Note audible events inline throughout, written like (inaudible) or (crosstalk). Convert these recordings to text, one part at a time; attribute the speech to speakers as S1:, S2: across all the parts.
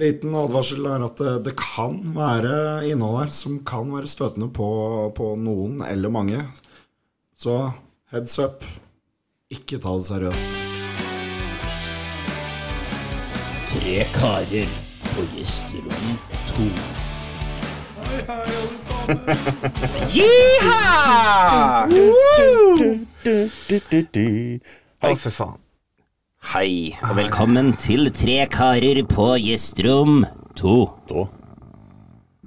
S1: Liten advarsel er at det, det kan være innhold her som kan være støtende på, på noen eller mange. Så heads up. Ikke ta det seriøst.
S2: Tre karer på gjesterom to.
S3: Å, for faen.
S2: Hei, og velkommen til Tre karer på gjesterom to.
S4: Da.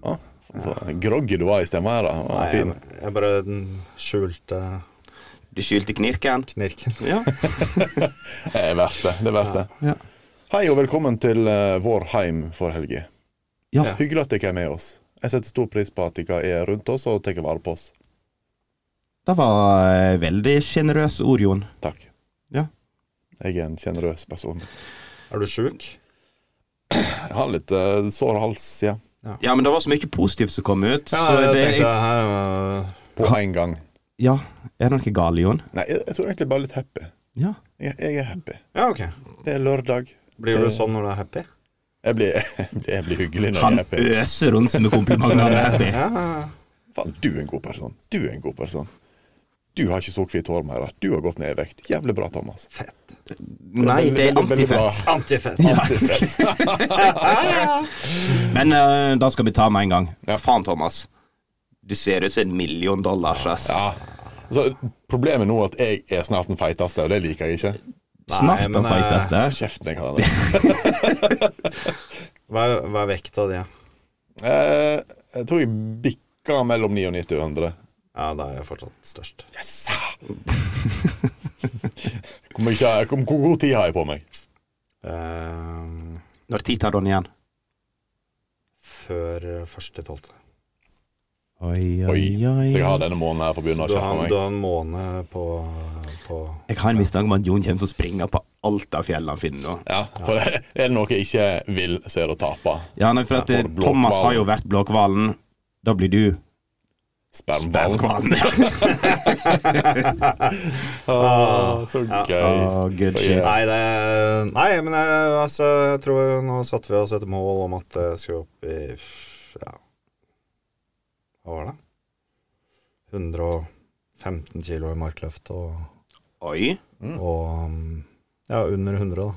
S4: Ja, altså, groggy du var i stemma her, da. Ja, fin.
S5: Jeg bare den skjulte
S6: Du skjulte knirken.
S5: knirken.
S4: Det er verdt det. det, er verdt det.
S5: Ja.
S4: Hei, og velkommen til eh, vår heim for helga.
S5: Ja.
S4: Hyggelig at dere er med oss. Jeg setter stor pris på at dere er rundt oss og tar vare på oss.
S3: Det var eh, veldig sjenerøs ord, Jon.
S4: Takk.
S3: Ja.
S4: Jeg er en sjenerøs person.
S5: Er du sjuk?
S4: Jeg har litt eh, sår hals, ja.
S6: Ja, men det var så mye
S3: Positivt som kom ut.
S5: Ja,
S3: så
S5: jeg
S3: det,
S5: tenkte her øh,
S4: På en gang.
S3: ja, er det noe galt, Jon?
S4: Nei, jeg, jeg tror egentlig bare litt happy.
S3: Ja.
S4: Jeg, jeg er happy.
S5: Ja, ok.
S4: Det er lørdag.
S5: Blir du
S4: Det-
S5: sånn når du er happy?
S4: Jeg blir, (laughs) jeg blir hyggelig når
S3: Han
S4: jeg er happy.
S3: øser rundt med komplimenter. Han er happy.
S5: Ja, ja, ja.
S4: Faen, du er en god person. Du er en god person. Du har ikke sukkerhvitt hår mer. Du har gått ned i vekt. Jævlig bra, Thomas.
S5: Fett.
S6: Nei, det er
S4: Veldig, veldig bra.
S6: antifett.
S5: Antifett.
S4: Antifett.
S3: Men eh, da skal vi ta med en gang.
S6: Faen, Thomas. Du ser ut som en million dollars, ass.
S4: Ja. Altså, problemet nå er at jeg er snart den feiteste, og det liker jeg ikke.
S3: Snart
S5: men,
S3: den feiteste.
S4: Kjeften jeg
S5: (laughs)
S4: har. den.
S5: Hva er, hva er vekta di?
S4: Eh, jeg tror jeg bikka mellom 99 og 100.
S5: Ja, da er jeg fortsatt størst.
S4: Yes! (laughs) Hvor, mye, hvor, hvor god tid har jeg på meg?
S5: Ehm,
S3: Når tid tar den igjen?
S5: før første tolvte.
S3: Oi,
S4: Oi. Så jeg har denne måneden her for å begynne å
S5: Du har
S4: skjerpe
S5: du
S4: meg.
S5: har en måned eh, på, på
S3: Jeg har en mistanke om at Jon kommer til å springe på alt av fjellene han finner nå.
S4: Ja, for er det noe jeg ikke vil, så er det å tape.
S3: Ja, nei, for at
S4: Ja,
S3: eh,
S4: for blåkvalen.
S3: Thomas har jo vært blåkvalen. Da blir du
S4: Spermhval.
S3: blåkvalen. Ja.
S4: Ah, så gøy.
S3: Å, good
S4: Så
S3: shit.
S4: gøy.
S5: Nei, det, nei men jeg, altså, jeg tror nå satte vi oss et mål om at det skulle opp i ja. Hva var det? 115 kilo i markløft og,
S6: Oi.
S5: og um, ja, under 100 da,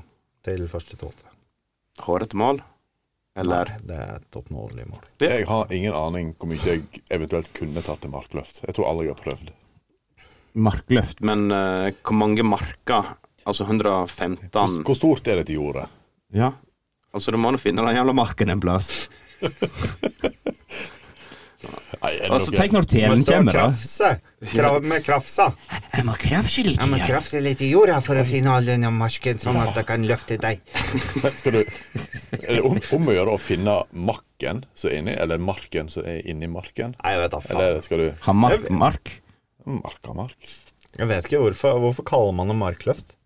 S5: til første tolvte.
S6: Hårete mål. Eller
S5: Nei, Det er et oppnåelig mål.
S4: Jeg har ingen aning hvor mye jeg eventuelt kunne tatt til markløft. Jeg tror aldri jeg har prøvd.
S3: Markløft.
S6: Men eh, hvor mange marker? Altså 115
S4: Hvor, hvor stort er dette jordet?
S3: Ja.
S6: Altså, du må nå finne den jævla marken en plass.
S4: Nei, er det
S3: Altså,
S4: noe-
S3: tenk når TV-en kommer, da.
S5: krafse! Krav med krafsa!
S3: Jeg må krafse litt.
S5: må krafse litt i jorda for å finne all denne marsken, sånn at jeg kan løfte deg.
S4: Skal du Er det om, om å gjøre å finne makken som er inni, eller marken som er inni marken?
S5: Nei, jeg vet da faen.
S4: Eller skal du
S3: Har Mark Mark?
S4: Marka mark?
S5: Jeg vet ikke hvorfor. Hvorfor kaller man det markløft?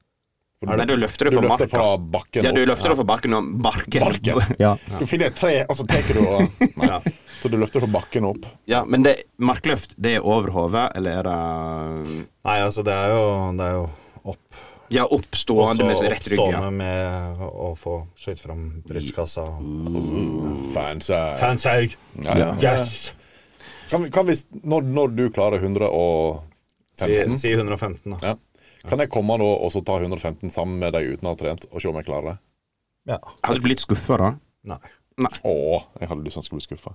S6: Nei, du løfter det
S4: Du
S6: fra
S4: løfter
S6: marka.
S4: fra bakken
S6: Ja, du
S4: opp.
S6: løfter det fra barken og barken. (laughs)
S4: Barken.
S3: Ja.
S4: Du finner et tre, og så tar du og Nei. Så du løfter fra bakken opp.
S6: Ja, men det, markløft, det er over hodet, eller er det
S5: Nei, altså, det er jo, det er jo opp.
S6: Ja, oppstående med rett rygg. Ja.
S5: oppstående med å- å få skyte fram brystkassa.
S4: Fancy.
S5: Fansaug!
S4: Ja, ja.
S5: Yes!
S4: Kan vi, kan vi når, når du klarer 115
S5: Si, si 115, da.
S4: Ja. Kan jeg komme nå og så ta 115 sammen med deg uten å ha trent, og se om jeg klarer det?
S5: Ja.
S3: Hadde du blitt skuffa, da?
S5: Nei.
S4: Å, jeg hadde lyst til å skulle skuffe.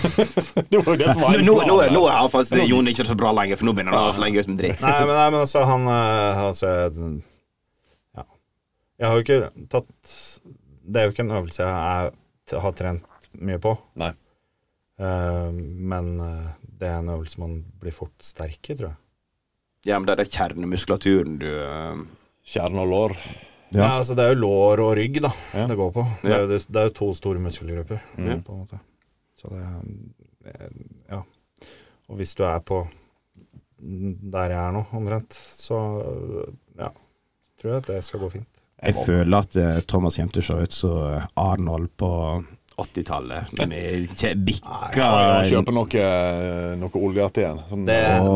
S4: (laughs) det var jo det som var
S6: Nå,
S4: en
S6: nå,
S4: plan.
S6: nå, nå er han faktisk Jon ikke så bra lenger, for nå begynner det å slenge ut med dritt.
S5: Nei,
S6: (laughs)
S5: men, nei, men altså, han eh, Altså jeg- Ja. Jeg har jo ikke tatt Det er jo ikke en øvelse jeg er, t- har trent mye på.
S4: Nei.
S5: Eh, men eh, det er en øvelse man blir fort sterk i, tror jeg.
S6: Ja, men det er den kjernemuskulaturen du eh,
S4: Kjerne og lår.
S3: Ja.
S5: Ja. altså Det er jo lår og rygg da
S4: Ja.
S5: det går på. Det er, jo, det, det er jo to store muskelgrupper.
S4: Mm.
S5: På en måte. Så det er- eh, Ja. Og hvis du er på der jeg er nå, omtrent, så eh, ja, tror jeg at det skal gå fint.
S3: Jeg føler at eh, Thomas kommer til å se ut som eh, Arnold på 80-tallet. (laughs) Når vi kje- bikka
S4: Kan jeg Kjøpe noe, noe oljearten. Sånn
S5: Det,
S4: eh,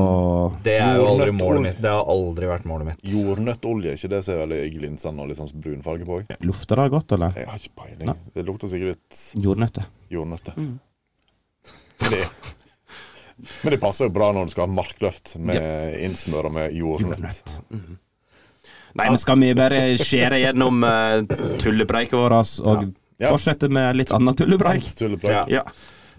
S5: det er jo aldri
S4: Jordnøtt-
S5: målet mitt. Det har aldri vært målet mitt.
S4: jordnøttolje. Ikke det som er veldig glinsende og litt sånn brun farge på? også?
S7: Lukter det godt, eller?
S4: Jeg har ikke peiling. Det lukter sikkert litt
S7: Jordnøtter.
S4: jordnøtter. Men, det, men det passer jo bra når du skal ha markløft med innsmøra med jordnøtt.
S3: Nei, men skal vi bare skjære gjennom
S7: eh,
S3: uh, tullepreiket vår
S7: altså, Og
S4: Ja.
S7: fortsette med litt annen tullepreik.
S4: Tullepreik.
S3: Ja.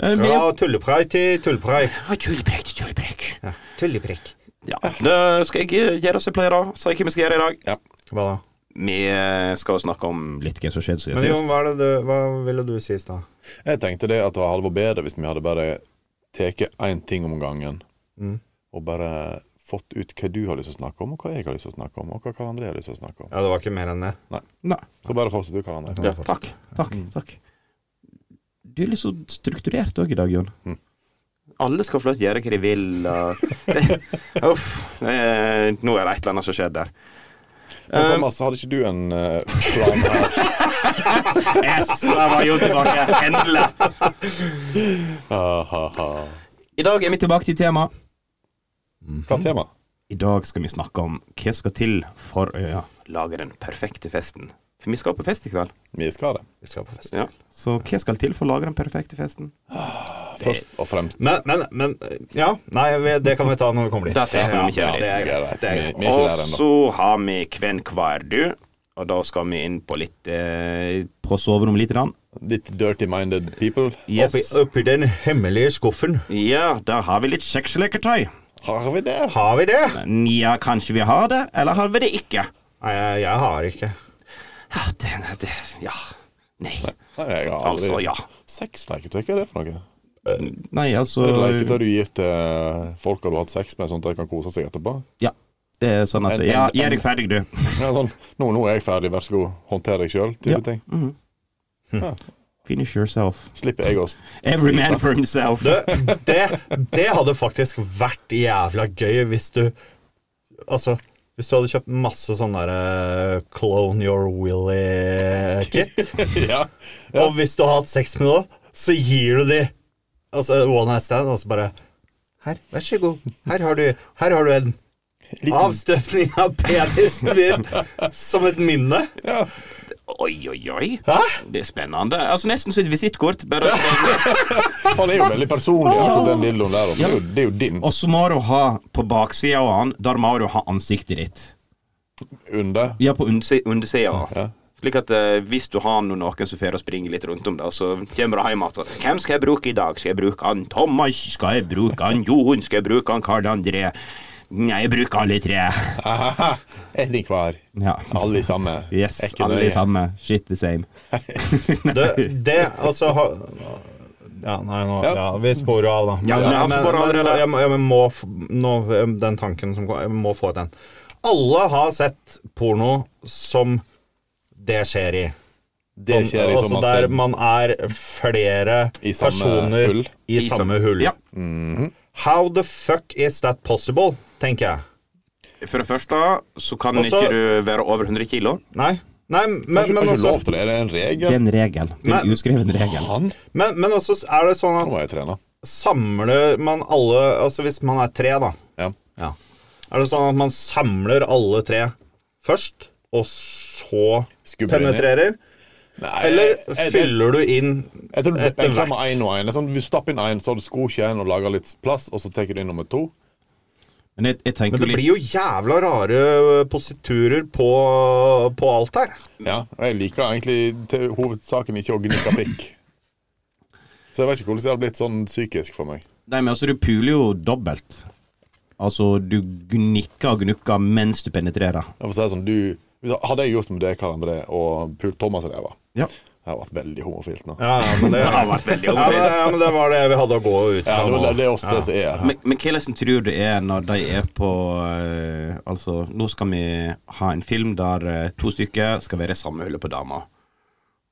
S7: Eh, vi-
S5: Fra tullepreik til tullepreik.
S3: Tullepreik til tullepreik.
S5: Ja. Tullepreik.
S3: Ja. Da skal jeg eh, gjøre som jeg pleier, da. Si hva vi skal gjøre i dag.
S5: Hva da?
S3: Vi eh, skal snakke om
S7: Litt hva som skjedde siden
S5: Men Jon,
S7: sist.
S5: hva, er det du, hva ville du si i stad?
S4: Jeg tenkte det at det hadde vært bedre hvis vi hadde bare tatt én ting om gangen.
S5: Mm.
S4: Og bare fått ut hva du har lyst til å snakke om, og hva jeg har lyst til å snakke om, og hva Karl André har lyst til å snakke om.
S5: Ja, det var ikke mer enn det.
S7: Nei,
S4: Så bare fortsett du, Karl André.
S3: ja, Takk.
S7: takk, takk. Mm. Du er litt så strukturert òg i dag, Jon.
S3: Mm. Alle skal få lov til å gjøre hva de vil.
S7: (laughs)
S3: Og... Uff. Eh, nå er det et eller annet som skjer der.
S4: Men Thomas, hadde ikke du en eh, plan her?
S3: Yes, der var Jon tilbake. Endelig.
S4: Ha, ha, ha.
S7: I dag er vi tilbake til temaet.
S4: Hva er temaet?
S3: I dag skal vi snakke om hva skal til for å ja, lage den perfekte festen. For vi skal på fest i kveld.
S4: Vi skal det.
S5: Vi skal på fest.
S3: Ja. Så hva skal til for å lage den perfekte festen?
S4: Først og fremst.
S5: Men, men, men Ja, nei, vi- det kan vi ta når vi kommer dit.
S3: Det tar vi
S5: Ja,
S3: om ikke
S5: ja,
S3: er
S4: Det
S5: det er
S4: er
S5: greit.
S4: greit.
S5: Det er
S4: Vi, vi er
S5: greit.
S4: ikke der
S3: Og
S4: ennå.
S3: så har vi Hvem hver du, og da skal vi inn på litt eh,
S7: På soverommet lite grann.
S4: Litt dirty-minded people.
S5: Oppi, oppi den hemmelige skuffen.
S3: Ja, da har vi litt sexleketøy.
S4: Har vi det?
S5: Har vi det?
S3: Ja, kanskje vi har det, eller har vi det ikke?
S5: Nei, jeg, jeg har ikke.
S3: Ja, det, det Ja. Nei.
S4: Nei, jeg har aldri
S3: Altså, ja.
S4: Sexleketøy, hva er det for noe?
S7: Nei, altså
S4: Er det leketøy du gir til folka du har hatt sex med, sånn at de kan kose seg etterpå?
S7: Ja. Det er sånn at
S4: En-
S7: Ja,
S3: Ja, gjør deg ferdig, du.
S4: Ja, sånn, nå, 'Nå er jeg ferdig, vær så god, håndter deg sjøl', type
S7: Ja.
S4: ting.
S3: Mhm.
S4: Hm.
S3: Hm.
S7: finish yourself.
S4: Slipper jeg å s-
S3: Every man for himself.
S5: Du, det, det hadde faktisk vært jævla gøy hvis du Altså, hvis du hadde kjøpt masse sånn derre Clone Your Willy-kit,
S4: (laughs) ja.
S5: og hvis du har hatt sex med noen, så gir du de Altså one night stand, og så bare Her, vær så god. Her har du, her har du en avstøpning av penisen din som et minne.
S3: Oi, oi, oi.
S5: Hæ?
S3: Det er spennende. Altså Nesten som et visittkort. Bare
S4: Faen, det er jo veldig personlig, akkurat den dildoen der. og Det er jo, det er jo din
S3: Og så må du ha på baksida av han, der må du ha ansiktet ditt.
S4: under.
S3: Ja, på undersi- undersida.
S4: Ja.
S3: Slik at eh, hvis du har noen, noen som får å springe litt rundt om det, så kommer du hjem igjen og 'Hvem skal jeg bruke i dag? Skal jeg bruke han Thomas? Skal jeg bruke han Jon? Skal jeg bruke han Karl André? Nei, jeg bruker alle tre.
S4: Aha, En i hver.
S7: Ja.
S4: Alle i samme.
S7: Yes,
S4: Er ikke
S7: alle
S4: nøye.
S7: i samme. Shit the same.
S5: Det, det altså har ja, nei, nå, ja.
S4: Ja.
S5: vi sporer jo av, da.
S3: Ja, men jeg får bare
S5: men,
S3: allerede-
S5: jeg, må- jeg må f- nå, eh, Den tanken som kom, jeg må få den. Alle har sett porno som det skjer i.
S4: Det skjer i
S5: Sånn,
S4: som
S5: altså
S4: at
S5: der
S4: det,
S5: man er flere
S4: I samme
S5: personer
S4: hull.
S5: i
S3: sam-
S5: samme hull.
S3: Ja.
S5: How the fuck is that possible, tenker jeg.
S3: For det første så kan
S5: Og så-
S3: ikke du være over 100 kilo.
S5: Nei, nei men,
S4: Kanskje
S5: men,
S4: ikke
S5: også,
S4: lov til det? Er det en
S7: altså- Det er
S4: regel?
S7: en regel. Det er en
S5: Nei.
S7: uskreven regel.
S4: Han?
S5: men, men også er det sånn
S4: Nå
S5: at
S4: må jeg trene.
S5: samler man alle Altså hvis man er tre, da.
S4: Ja.
S5: Ja. Er det sånn at man samler alle tre først, og så
S4: Skubber inn i-
S5: penetrerer?
S4: Nei,
S5: Eller
S4: jeg- jeg-
S5: fyller du inn
S4: Jeg tror du
S5: Etter
S4: enkler
S5: hvert.
S4: med én og én. Sånn, hvis du stapper inn én, så har du skokjelen og lager litt plass, og så tar du inn nummer to.
S7: Men jeg, jeg tenker
S5: Men det
S7: jo litt
S5: blir jo jævla rare positurer på, på alt her.
S4: Ja, og jeg liker egentlig til hovedsaken ikke å gnikke pikk. Så jeg vet ikke hvordan det hadde blitt sånn psykisk for meg.
S7: Nei, men altså, du puler jo dobbelt. Altså, du gnikker og gnukker mens du penetrerer.
S4: Jeg får si det sånn, du, hadde jeg gjort med det, Karl André, og pult Thomas og det, var
S7: Ja.
S4: Jeg har vært veldig homofilt nå.
S5: Ja, ja, men det,
S3: Det har vært veldig
S5: ja, men,
S3: omtrent.
S5: ja, men det var det vi hadde å gå ut
S4: Ja,
S5: fra
S4: det,
S5: nå.
S4: var- det er også det som er her.
S3: Men, men hvordan tror du det er når de er på eh, Altså, nå skal vi ha en film der eh, to stykker skal være i samme hullet på dama.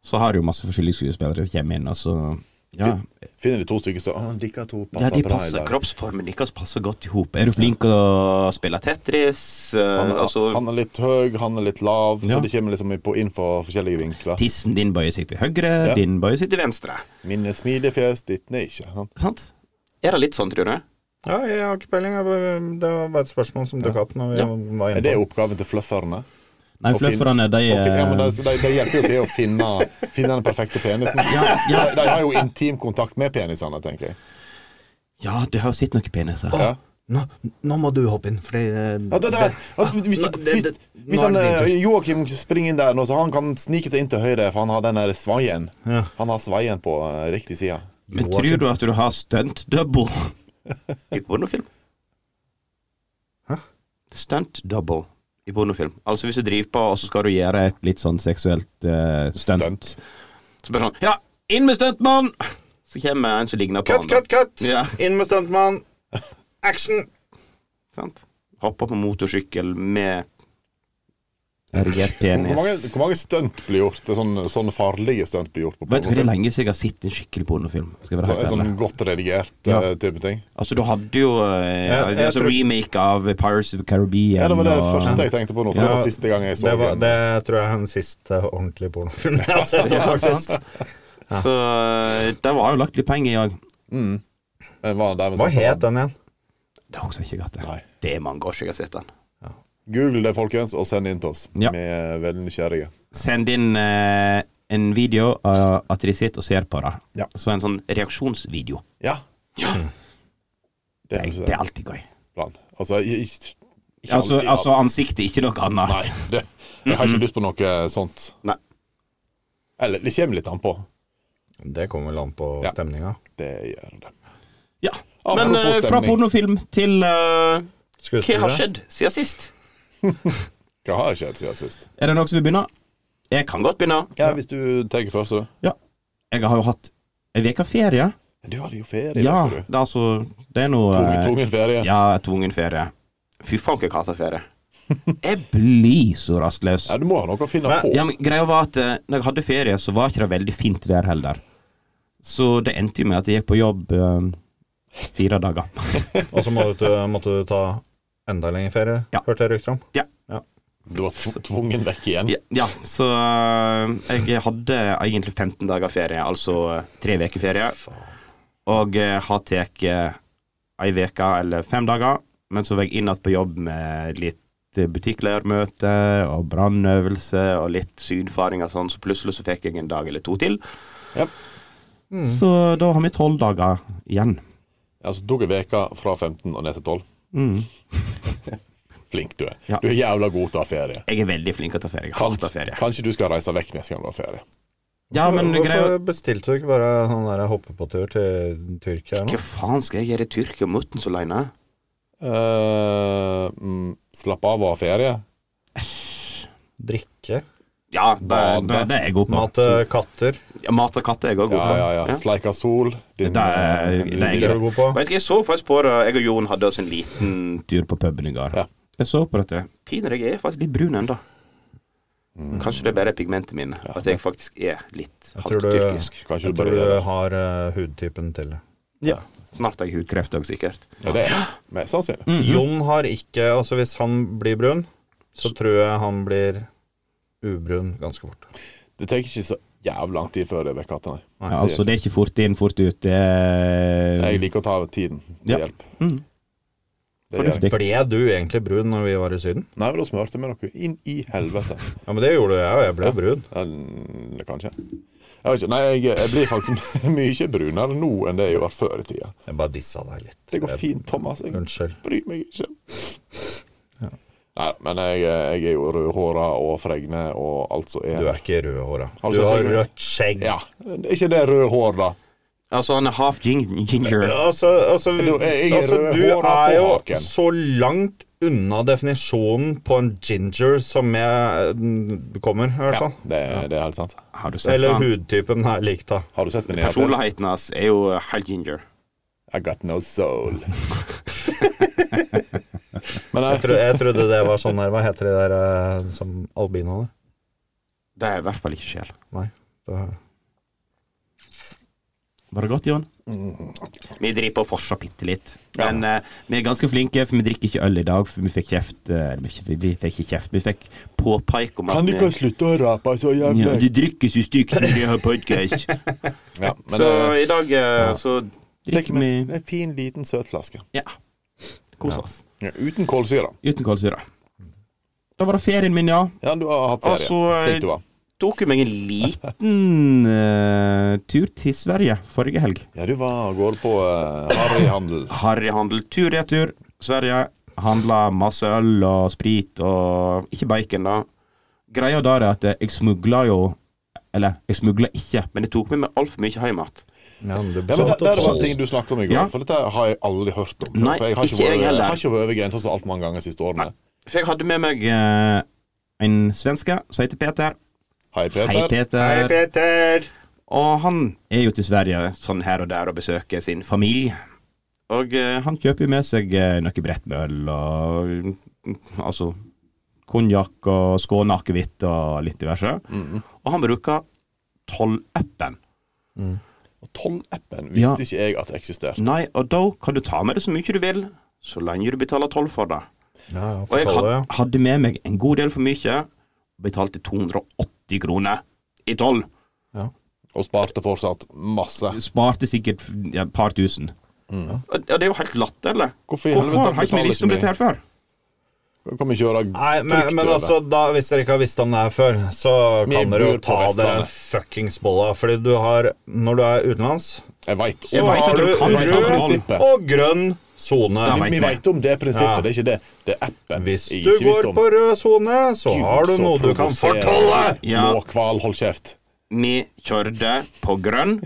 S7: Så har du jo masse forskjellige skuespillere som kommer inn, og så
S3: altså, Ja.
S4: Finner de to stykker så ah, Dere to
S6: Ja,
S4: passer
S6: de
S4: bra i
S6: passer,
S4: lag.
S6: Kroppsformen deres passer godt i hop. Er du flink til å spille Tetris? eh,
S4: Han,
S6: altså,
S4: han er litt høy, han er litt lav,
S3: Ja.
S4: så det kommer liksom på inn fra forskjellige vinkler.
S3: Tissen din bøyer seg til høyre, din bøyer seg
S6: til venstre.
S4: Mine smilefjes, ditt nei ikke. sant?
S6: Sant? Er det litt sånn, tror du?
S5: Ja, jeg har ikke peiling. jeg bare- Det var bare et spørsmål som dukka opp. Når vi
S6: Ja.
S5: var
S4: Er
S5: inne
S4: det
S5: på.
S4: oppgaven til flufferne?
S3: Nei,
S4: Og fin-
S3: flufferne, de
S4: Og fin- Ja, men
S6: eh,
S3: er
S4: de, de, de hjelper jo til å finne, finne den perfekte penisen. De, de har jo intim kontakt med penisene, tenker jeg.
S3: Ja, du har jo sett noen peniser.
S4: Ja.
S5: Nå, nå må du hoppe inn, fordi eh,
S4: Ja, det, der, at hvis
S5: Nå- det-
S4: hvis,
S5: det-
S4: hvis
S5: nå er
S4: han,
S5: det din tur.
S4: eh, Joakim springer inn der nå, så han kan snike seg inn til høyre, for han har den der svaien.
S5: Ja.
S4: Han har svaien på eh, riktig side.
S3: Men tror du at du har stunt double?
S4: (laughs)
S6: I pornofilm.
S5: Hæ?
S6: Stunt double i pornofilm. Altså, hvis du driver på, og så skal du gjøre
S3: Gjøre et litt sånn seksuelt eh, stunt.
S4: Stunt.
S6: Så bare sånn Ja, inn med stuntmann! Så kommer en som ligner på
S5: Cut,
S6: han. da.
S5: cut, cut!
S6: Ja.
S5: Inn med stuntmann. Action!
S6: Sant? Hopper på motorsykkel med erigert penis.
S4: Hvor mange, hvor mange stunt blir gjort? Det er sånn, sånn farlige stunt blir gjort på
S3: Vet du hvor
S4: pornofilm?
S3: lenge siden jeg har sett en skikkelig pornofilm? Skal jeg være
S4: Sånn,
S3: helt ærlig.
S4: sånn godt redigert
S3: Ja.
S4: eh, type ting.
S6: Altså, du hadde jo eh,
S5: Ja, jeg
S6: altså,
S5: tror-
S6: remake av Pirates of the Caribbean.
S4: Ja, det var det
S6: og-
S4: første jeg tenkte på nå, for det
S5: Ja.
S4: var siste gang jeg så
S5: Det, var,
S4: den.
S5: det tror jeg er den siste ordentlige pornofilmen jeg har sett.
S6: Ja,
S5: faktisk.
S6: sant? Så eh, det var jo lagt litt penger i òg.
S4: Eh, var den der med
S5: Hva
S4: sånn-
S5: het den igjen?
S6: Det er også ikke godt, det.
S4: Nei.
S6: Det er mange år siden jeg har sett den.
S4: Google det, folkens, og send inn til oss.
S3: Ja.
S4: Vi er veldig nysgjerrige.
S3: Send inn eh, en video av at de sitter og ser på det.
S4: Ja.
S3: Så en sånn reaksjonsvideo.
S4: Ja.
S6: Ja.
S4: Det
S3: Det,
S4: er
S3: det er
S4: en
S3: alltid gøy.
S4: plan. Altså, ikke, ikke alltid,
S3: Altså,
S4: ja.
S3: altså ansiktet, ikke noe annet.
S4: Nei, det, jeg har ikke lyst på noe sånt.
S6: Nei.
S4: Eller det kommer litt an på.
S5: Det kommer vel an på
S4: Ja.
S5: stemninga.
S4: Det gjør det.
S3: Ja.
S4: Apropos
S3: Men eh, fra
S4: stemning.
S3: pornofilm til eh,
S6: Hva har
S5: Skuespillere?
S6: skjedd siden sist?
S4: Hva har skjedd siden sist?
S3: Er det noen som vil begynne? Jeg
S6: Kan
S3: kan.
S6: godt begynne.
S4: Ja, Hvis du tar først, så.
S3: Jeg har jo hatt ei uke ferie.
S4: Du hadde jo ferie.
S3: Ja, det
S4: vet du.
S3: er altså Det er noe
S4: Tvungen,
S3: eh,
S4: tvungen ferie.
S3: Ja, tvungen ferie.
S6: Fy faen, hva jeg hater
S4: (laughs)
S6: ferie.
S3: Jeg blir så rastløs.
S4: Ja, du må ha noe å finne
S5: Nei,
S4: på.
S3: Ja, men greia var at eh, når jeg hadde ferie, så var ikke det veldig fint vær heller. Så det endte jo med at jeg gikk på jobb eh, fire dager.
S5: Og så måtte, du- måtte du ta enda lengre ferie,
S3: Ja.
S5: hørte jeg rykter om.
S4: Du var tv- tvungen vekk igjen.
S6: Ja, ja så eh, jeg hadde egentlig 15 dager ferie, altså eh, tre uker ferie. Og eh, har tatt eh, ei uke eller fem dager, men så var jeg inn igjen på jobb med litt butikkledermøte og brannøvelse og litt sydfaring og sånn, så plutselig så fikk jeg en dag eller to til.
S5: Mm.
S3: Så da har vi tolv dager igjen.
S4: Altså, tok jeg veka fra 15 og ned til 12.
S3: Mm.
S4: (laughs) Flink du er.
S3: Ja.
S4: Du er jævla god til å ha ferie.
S6: Jeg er veldig flink til å ta ferie. Jeg hater
S4: Kanskje,
S6: ferie.
S4: kanskje du skal reise vekk neste gang du har ferie.
S3: Ja, men
S5: Hvorfor
S3: greia
S5: bestilte du ikke bare han der hoppepåtur til Tyrkia eller
S6: Hva
S5: noe?
S6: faen skal jeg gjøre i Tyrkia muttens aleine?
S4: Eh, mm, slapp av og ha ferie.
S5: Drikke?
S6: Ja, det, det,
S3: det, det er jeg god på.
S5: Mate eh, katter?
S6: ja, mat og katter er jeg
S4: Ja,
S6: òg god på.
S4: ja, ja. Sleika sol.
S3: Det er-
S4: Din, din
S3: det er
S5: Det
S4: lille-
S5: er du god på?
S6: Vet ikke, jeg så faktisk på det, jeg og Jon hadde oss en liten
S3: Tur på puben i går.
S4: Ja.
S3: Jeg så på dette. Mm.
S6: Piner, jeg er faktisk litt brun ennå. Kanskje det er bare pigmentet mine, at jeg faktisk er litt
S5: Jeg tror
S6: halvt
S5: du-
S6: tyrkisk.
S4: Kanskje
S5: Jeg
S4: du
S5: tror
S4: bare
S5: du
S4: gjør det.
S5: har eh, hudtypen til det.
S6: Snart har jeg hudkreft òg, sikkert.
S4: Ja, det er mest sannsynlig.
S3: Mm.
S5: Jon har ikke Altså, hvis han blir brun, så tror jeg han blir ubrun ganske fort.
S4: Det tar ikke så jævlig lang tid før det er vekk igjen. nei.
S3: Ja, altså, det er ikke fort inn, fort ut. Det er
S4: Jeg liker å ta tiden til
S3: Ja.
S4: hjelp.
S3: Mm.
S4: Det gjør jeg.
S3: Fornuftig.
S5: Ble du egentlig brun når vi var i Syden?
S4: Nei, men da smørte vi noe inn i helvete.
S5: Ja, men det gjorde jeg, og jeg ble brun.
S4: Eller mm, kanskje. Jeg vet ikke. Nei, jeg, jeg blir faktisk (laughs) mye brunere nå enn det jeg var før i tida.
S5: Jeg bare dissa deg litt.
S4: Det går fint, Thomas. Jeg
S5: Unnskyld.
S4: bryr meg ikke. Nei, men jeg, jeg er jo rødhåra og fregne og alt som
S5: Du
S4: er.
S5: er ikke rødhåra.
S4: Har du
S5: Du
S4: sett
S5: har
S4: filmen?
S5: rødt skjegg.
S4: Ja. Er ikke det rød hår, da?
S6: Altså, han er half gin ginger.
S5: Altså, altså,
S4: Du- jeg er
S5: altså du
S4: rødhåra
S5: er
S4: på
S5: jo
S4: haken.
S5: så langt unna definisjonen på en ginger som jeg mm, kommer, i hvert
S4: Ja,
S5: fall.
S4: Sånn. det, det er helt sant.
S6: Har du sett
S5: Eller
S6: han?
S5: hudtypen er lik, da.
S4: Har du sett min nedtur?
S6: Personligheten hans er jo helt ginger.
S4: I got no soul. (laughs) men eh,
S5: Jeg, tro, jeg trodde det var sånn her Hva heter de der eh, som albinoene?
S6: Det er i hvert fall ikke sjel.
S5: Nei. Det,
S3: Var det godt, Jon? Mm.
S6: Vi driver på å forsa bitte litt. Men eh,
S3: Vi er ganske flinke, for vi drikker ikke øl i dag, for vi fikk kjeft eh, eller, vi fikk- Vi fikk ikke kjeft, vi fikk
S6: påpeik om at
S4: Kan
S6: vi-
S4: dere slutte å rape så
S2: Ja,
S4: jævlig?
S2: det drikkes jo stygt når vi har podkast.
S4: Ja, (laughs) men
S6: Så
S4: eh,
S6: i dag eh, så
S4: tenk
S3: drikker vi
S4: med en fin, liten søt flaske.
S3: Ja. Kos oss.
S4: Ja, uten kålsyre.
S3: Uten kålsyre. Da var det ferien min, ja.
S4: Ja, du har hatt ferie.
S6: Altså, eh,
S4: slik du var.
S6: tok jo meg en liten
S3: Liten eh, tur til Sverige forrige helg.
S4: Ja, du var og går på uh, harryhandel.
S6: harryhandel. Tur-retur Sverige. Handla masse øl og sprit og ikke bacon, da.
S3: Greia der er at jeg smugla jo Eller, jeg smugla ikke.
S6: Men jeg tok med meg altfor mye hjem igjen.
S5: Ja, men det
S4: Ja,
S5: blir
S4: men det, det var
S5: sånn
S4: en ting du snakket om i går,
S6: Ja.
S4: for dette har jeg aldri hørt om.
S6: Nei,
S4: for jeg har ikke,
S6: ikke jeg
S4: vært,
S6: heller.
S4: har ikke vært over grensa så altfor mange ganger siste årene.
S6: For jeg hadde med meg
S3: Eh, en svenske som heter Peter.
S4: Hei,
S3: Hei,
S4: Peter.
S5: Hei,
S3: Peter.
S5: Peter!
S6: Og han
S3: Er jo til Sverige.
S6: sånn her og der og besøker sin familie. Og eh, han
S3: Han kjøper jo med seg eh, noe brett med øl og mm, Altså konjakk og skåneakevitt og litt diverse.
S5: Mm.
S6: Og han bruker tollappen.
S4: Og Tollappen visste ikke jeg at eksisterte.
S6: Nei, og da kan du ta med det så mye du vil, så lenge du betaler toll for det.
S5: Ja, ja,
S6: Og jeg
S5: fortell det, ja.
S6: had, hadde med meg en god del for mye. Betalte 280 kroner i toll.
S4: Og sparte fortsatt masse.
S3: Sparte sikkert f- ja, et par tusen.
S6: Og, og det er jo helt latterlig.
S4: Hvorfor i
S6: Hvorfor
S4: helvete
S6: har ikke vi
S4: betaler
S6: visst om
S4: ikke
S6: dette her før?
S4: vi? Kan vi kjøre
S5: Nei, men,
S4: trygt
S5: men
S4: over?
S5: altså, da, hvis dere ikke har visst om det her før, så
S4: Vi
S5: kan
S4: bor
S5: dere jo
S4: på
S5: ta dere en
S4: Vestlandet.
S5: fuckings bolle. Fordi du har, når du er utenlands,
S4: Jeg veit
S5: så
S4: om
S6: vet at
S5: har
S6: du
S5: du
S6: kan ta
S5: rød
S4: prinsippet.
S5: og grønn sone.
S6: Da vet
S4: Vi
S6: vi.
S4: veit om det prinsippet,
S5: Ja.
S4: det er ikke det. Det er appen.
S5: Hvis
S4: jeg
S5: du
S4: ikke
S5: går
S4: visste om.
S5: på rød sone, så
S4: Gud,
S5: har du
S4: så
S5: noe du kan
S4: provoserende.
S5: fortolle!
S6: Ja.
S4: Blå hval, hold kjeft.
S6: Vi kjørte på grønn,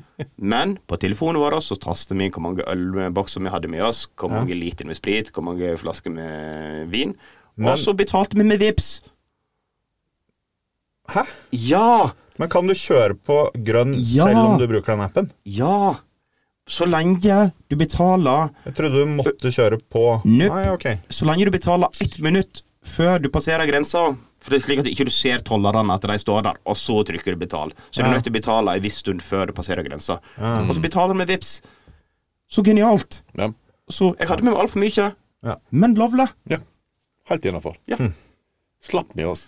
S6: men på telefonen vår så tastet vi inn hvor mange ølbokser vi hadde med oss, hvor mange liter med sprit, hvor mange flasker med vin.
S5: Men-
S6: Og så betalte vi med vips.
S5: Hæ?
S6: Ja!
S5: Men kan du kjøre på grønn
S3: Ja.
S5: selv om du bruker den appen?
S6: Ja!
S3: Så lenge du betaler
S5: Jeg trodde du måtte kjøre på
S3: Nope.
S5: Nei, ok.
S3: Så lenge du betaler ett minutt før du passerer grensa
S6: For det er slik at ikke du ser tollerne at de står der, og så trykker du betal. Så du er nødt til å betale en viss stund før du passerer grensa. Og så betaler du med vips.
S3: Så genialt!
S4: Ja.
S3: Så,
S6: Jeg hadde med meg altfor mye.
S3: men lovlig!
S4: ja. Helt innafor.
S6: Ja.
S4: Slapp vi oss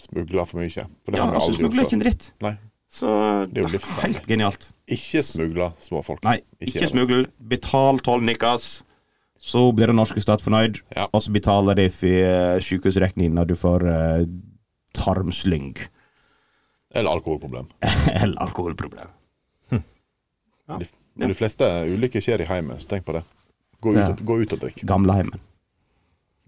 S4: smugle for mye. For det
S3: Ja,
S4: har vi
S3: altså,
S4: aldri
S3: smugler
S4: gjort
S3: ikke en
S4: før.
S3: dritt.
S4: Nei,
S6: Så
S4: det er jo livsfarlig.
S3: Helt genialt.
S4: Ikke smugle småfolk.
S3: Nei,
S6: ikke smugl. Betal tollen deres.
S3: Så blir den norske stat fornøyd,
S4: Ja.
S3: og så betaler de for eh, sykehusregningen når du får eh, tarmslyng
S6: (laughs)
S4: Eller alkoholproblem.
S3: eller alkoholproblem.
S4: De, de fleste ulykker skjer i heimen, så tenk på det. Gå ut,
S3: Ja.
S4: og- gå ut og drikk. (laughs)
S3: Gamleheimen.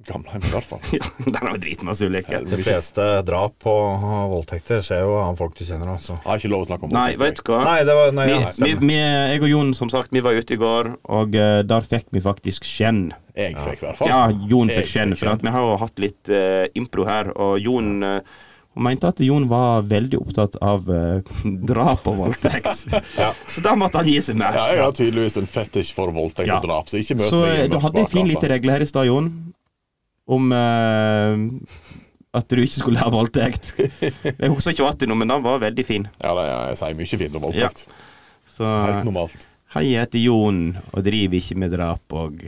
S4: Gamleheimen i hvert
S3: (laughs)
S4: fall.
S6: Ja, Der har vi dritmasse ulykker.
S5: De fleste drap og og voldtekter skjer jo av folk du kjenner, altså.
S4: Jeg har ikke lov å snakke om
S6: Nei,
S4: voldtekt,
S6: vet du hva?
S5: Nei, det var Nei,
S6: Vi,
S5: ja,
S6: vi,
S5: stemmer.
S3: Vi, jeg og Jon,
S6: som sagt, vi var ute i går.
S3: og eh, der fikk vi faktisk skjenn.
S4: jeg. Jeg fikk i hvert fall.
S3: Ja, Jon fikk
S4: Jeg
S3: skjenn.
S4: fikk
S3: For
S6: For
S3: at
S6: at vi har jo hatt litt eh, impro her, og Jon eh,
S3: hun mente at Jon var veldig opptatt av eh, (laughs) drap og voldtekt.
S6: Så da måtte han gi seg med.
S4: Ja, jeg har tydeligvis en fetisj for voldtekt
S3: Ja.
S4: og drap, så ikke møt
S3: Så
S4: meg
S3: eh,
S4: hjemme
S3: du
S4: på
S3: hadde en fin
S4: bakgata.
S3: liten regel her i stad, Jon, om eh, at du ikke skulle ha voldtekt.
S6: Jeg husker ikke hva det nå, men den var veldig fin.
S4: Ja, det, jeg sier mye fint om voldtekt.
S3: Så
S4: Helt normalt. (laughs)
S3: hei, jeg heter Jon og driver ikke med drap og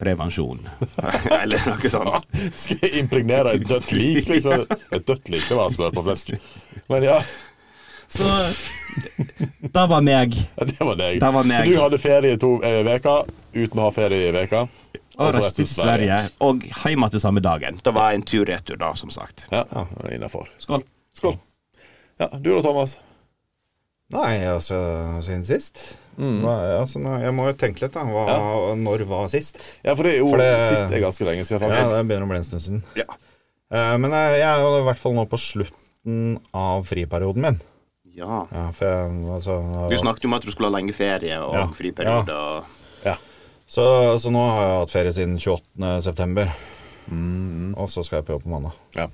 S3: prevensjon.
S6: (laughs) Eller noe sånt.
S4: Skal jeg impregnere et dødt lik, liksom? Et dødt lik, det var å spørre på
S3: (laughs)
S4: flesk. Men ja,
S3: Så det var meg.
S4: det var deg.
S3: Det var meg.
S4: Så du hadde ferie i to eh, veker, uten å ha ferie i veka
S3: Og
S6: Altså,
S4: så
S3: reiste til Sverige. Og hjem igjen samme dagen.
S6: Det var en tur retur, da, som sagt.
S4: Ja, ja innafor.
S3: Skål.
S4: Skål. Ja, du da, Thomas?
S5: Nei, altså, siden sist. Nå er jeg- altså, nå, jeg må jo tenke litt, da. Hva, Når var sist?
S4: Ja, for det er jo
S5: For det-
S4: sist er ganske lenge siden,
S5: Ja,
S4: faktisk.
S5: det begynner å bli en stund siden.
S6: Ja.
S5: Eh, men jeg, jeg er jo i hvert fall nå på slutten av friperioden min.
S6: Ja.
S5: Ja, for jeg, altså,
S6: Du snakket jo om at du skulle ha lenge ferie og
S5: Ja.
S6: friperiode. Og...
S5: så, så nå har jeg hatt ferie siden 28. september. Og så skal jeg på jobb på mandag.
S4: Ja.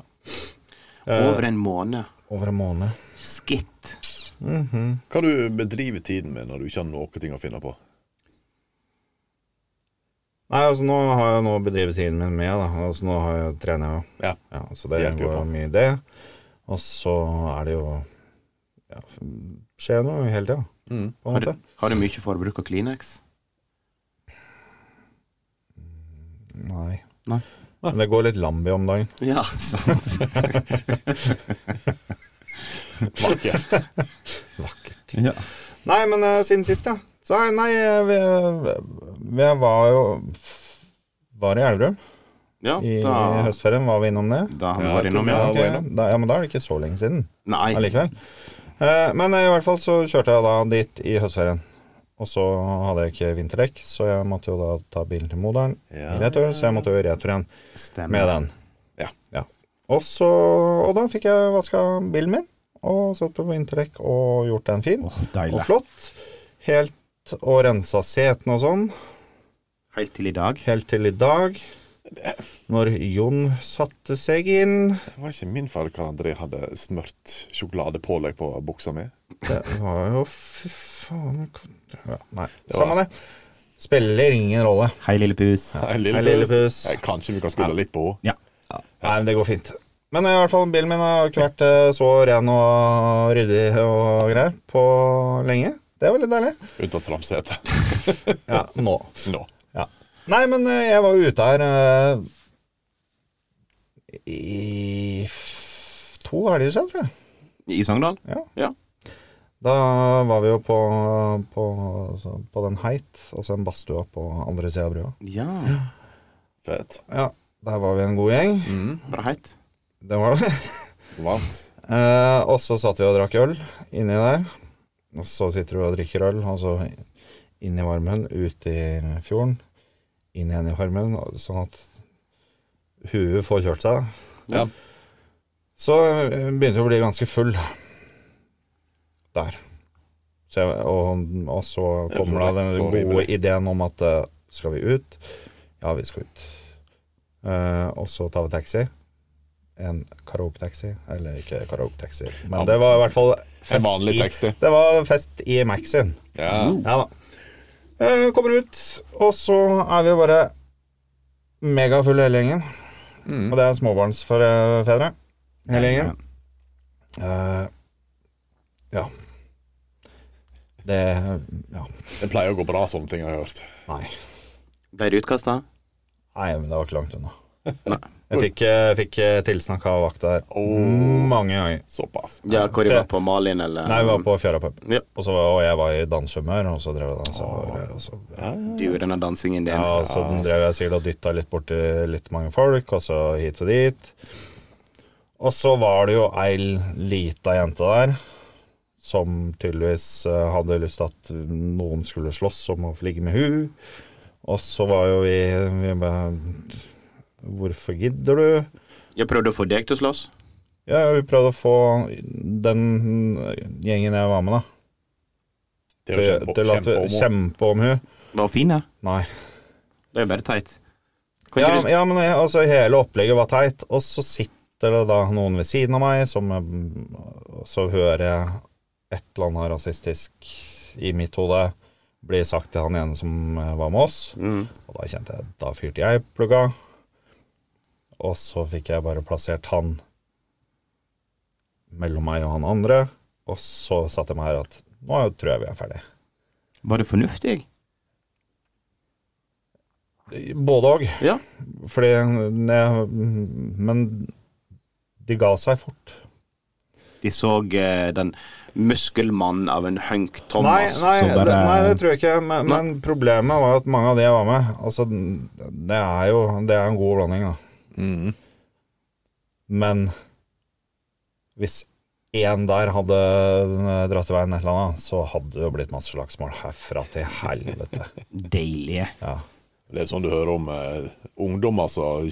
S5: Eh.
S6: Over en måned.
S5: Over en måned.
S6: Skitt.
S4: Hva du bedriver tiden med når du ikke har noe ting å finne på?
S5: Nei, altså nå har jeg nå bedrevet tiden min med, da. Altså nå har jeg trener jeg jo.
S4: Ja.
S5: Ja, så det
S4: Det hjelper jo
S5: går
S4: på.
S5: mye i det. Og så er det jo skjer noe hele tida, på en
S6: Har du,
S5: måte.
S6: har du mye forbruk av Kleenex?
S5: Nei.
S3: Nei.
S5: Men det går litt lambi om dagen.
S6: Ja, sant.
S4: Vakkert.
S3: Ja.
S5: Nei, men eh, siden sist, ja. Så, nei, nei, eh, vi, vi var jo Var i Elverum.
S6: Ja,
S5: I,
S6: da,
S5: I høstferien var vi innom det.
S6: da har vi
S4: (laughs) Ja,
S6: vært innom, ja.
S4: da var
S5: Ok,
S4: vi innom.
S5: Da, ja, men da er det ikke så lenge siden
S6: Nei.
S5: allikevel. Eh, men eh, i hvert fall så kjørte jeg da dit i høstferien. Og så hadde jeg ikke vinterdekk, så jeg måtte jo da ta bilen til moderen i retur. Så jeg måtte jo i retur igjen med den.
S4: Ja.
S5: Og, så, og da fikk jeg vaska bilen min, og satt på vinterdekk og gjort den fin
S3: Åh,
S5: og
S3: deilig.
S5: flott. Helt og rensa setene og sånn,
S6: Helt til i dag.
S5: helt til i dag. Når Jon satte seg inn
S4: Det var ikke min feil hva André hadde smørt sjokoladepålegg på buksa mi.
S5: Det var jo Fy faen ja, Nei, samme det. Spiller ingen rolle.
S3: Hei, lille pus.
S4: Hei,
S5: Hei, lille pus.
S4: Nei, Kanskje vi kan skylde litt på henne.
S3: Ja.
S5: Nei, men det går fint. Men i hvert fall, bilen min har ikke vært eh, så ren og ryddig og greier på lenge. Det var litt deilig.
S4: Unntatt framsetet.
S5: Ja, nå.
S4: (laughs) Nå.
S5: Ja. Nei, men eh, jeg var jo ute her eh, i f- to helger siden, tror jeg.
S6: I Sogndal?
S5: Ja.
S6: Ja.
S5: Da var vi jo på, på, altså, på den heit, altså en badstua på andre sida av brua.
S6: Ja,
S4: Fett.
S5: Ja, der var vi en god gjeng.
S6: Var det heit?
S5: Det var det. (laughs)
S4: Varmt.
S5: Eh, og så satt vi og drakk øl inni der. Og så sitter du og drikker øl, og så inn i varmen, ut i fjorden. Inn igjen i varmen, og sånn at huet får kjørt seg.
S4: Ja.
S5: Så eh, begynte jeg å bli ganske full der. Så jeg, og, og så kommer da den
S4: lett og
S5: gode
S4: rimelig.
S5: ideen om at eh, skal vi ut? Ja, vi skal ut. Eh, og så tar vi taxi. En karaoke-taxi. Eller ikke karaoke-taxi, men
S4: Ja.
S5: det var i hvert fall
S4: En vanlig
S5: i-
S4: taxi.
S5: Det var fest i Maxin.
S4: Ja.
S5: Ja da. Eh, kommer ut, og så er vi bare megafulle hele gjengen.
S4: Mm.
S5: Og det er småbarnsfedre. Hele gjengen. Eh, ja. Det Ja.
S4: Det pleier å gå bra, sånne ting jeg har jeg hørt.
S5: Nei.
S6: Ble det utkasta?
S5: Nei, men det var ikke langt unna. Jeg fikk, eh, fikk eh, tilsnakk av vakta her mange ganger.
S4: Såpass.
S6: Ja, hvor jeg
S5: Se.
S6: var på Malin, eller
S5: Nei, vi var på Fjæra pub,
S6: Ja.
S5: og, så var- og jeg var i danshumør, og så drev jeg dansa. Og så,
S6: Du, denne dansingen din.
S5: ja, altså. og så drev jeg sikkert og dytta litt borti litt mange folk, og så hit og dit. Og så var det jo ei lita jente der som tydeligvis eh, hadde lyst til at noen skulle slåss om å få ligge med hun. Og så var jo vi, vi bare Hvorfor gidder du?
S6: Jeg prøvde å få deg til å slåss.
S5: Ja, vi prøvde å få den gjengen jeg var med, da,
S4: Det er jo
S5: til, til at vi
S4: kjempehomo.
S5: kjempe om hun.
S6: Var hun fin, da?
S5: Nei.
S6: Det er jo bare teit. Kan
S5: Ja,
S6: ikke du-
S5: ja, men jeg, altså, hele opplegget var teit, og så sitter det da noen ved siden av meg, som eh, og så hører jeg et eller annet rasistisk i mitt hode bli sagt til han ene som eh, var med oss,
S6: Mm.
S5: og da kjente jeg Da fyrte jeg plugga, og så fikk jeg bare plassert han mellom meg og han andre, og så satte jeg meg her at nå tror jeg vi er ferdig.
S6: Var det fornuftig?
S5: Både òg.
S6: Ja.
S5: Fordi jeg, Men de ga seg fort.
S6: De så eh, den muskelmannen av en hunk Thomas.
S5: nei,
S3: så bare-
S5: det, nei, det tror jeg ikke. Men, men problemet var at mange av de jeg var med Altså, det er jo Det er en god blanding, da.
S4: Mm.
S5: Men hvis én der hadde dratt i veien et eller annet, så hadde det jo blitt masse slagsmål herfra til helvete.
S6: (laughs)
S2: Deilige.
S5: Ja.
S4: Det er sånn du hører om eh, ungdommer som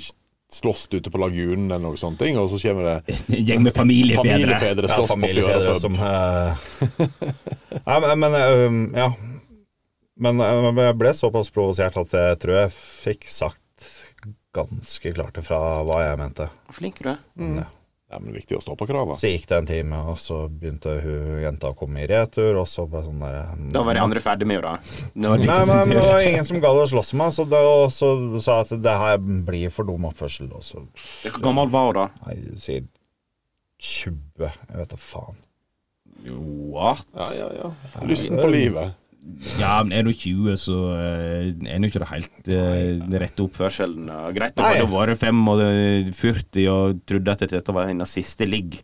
S4: slåss ute på lagunen eller noe sånt, og så kommer det
S2: Gjeng med familiefedre.
S4: familiefedre
S5: Ja,
S4: slåss på
S5: familiefedre
S4: fjøra.
S5: som eh, (laughs) Nei, men, men eh, Ja. Men eh, men jeg ble såpass provosert at jeg tror jeg fikk sagt ganske klart ifra hva jeg mente.
S6: Flink du er.
S4: Ja, men det er viktig å stå på krava.
S5: Så gikk det en time, og så begynte hun jenta å komme i retur, og så bare sånn
S6: Da
S5: derre
S6: var de andre ferdig med jo da.
S5: Nei, men det var ingen som gadd å slåss med meg, så da og så sa jeg at det her blir for dum oppførsel. Og så
S6: Hvor gammel var hun da?
S5: Nei, du sier 20. Jeg vet da faen.
S6: Jo,
S3: what?
S4: Ja, ja, ja. Lysten på livet.
S3: Ja, men er du 20, så eh, er nå ikke det helt eh, rette oppførselen. eh, Greit nok
S5: Nei.
S3: hadde vært 45 og trodde at dette var hennes siste ligg,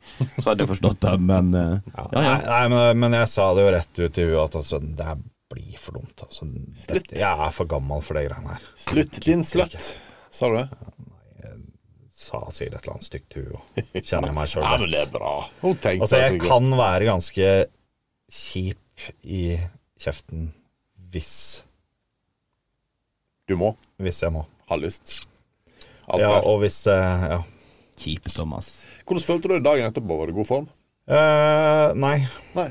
S3: så hadde jeg (laughs) forstått det, men eh,
S5: Ja,
S3: ja, ja.
S5: Nei, nei men, men jeg sa det jo rett ut i huet at altså, det her blir for dumt. Altså,
S4: Slutt.
S5: Dette, jeg er for gammel for de greiene her.
S4: Slutt din sløtt, sa du det?
S5: Sa sikkert et eller annet stygt til
S4: (laughs)
S5: huet. Kjenner jeg meg
S4: Ja,
S5: sjøl.
S4: men det er bra. Hun tenkte
S5: Altså, jeg
S4: sikkert.
S5: kan være ganske kjip i kjeften hvis,
S4: Du må
S5: hvis jeg må.
S4: ha lyst. Alt
S5: Ja,
S4: der.
S5: og hvis eh, Ja.
S8: Kjipe Thomas.
S4: Hvordan følte du det dagen etterpå? Var du i god form?
S5: Eh, nei,
S4: Nei.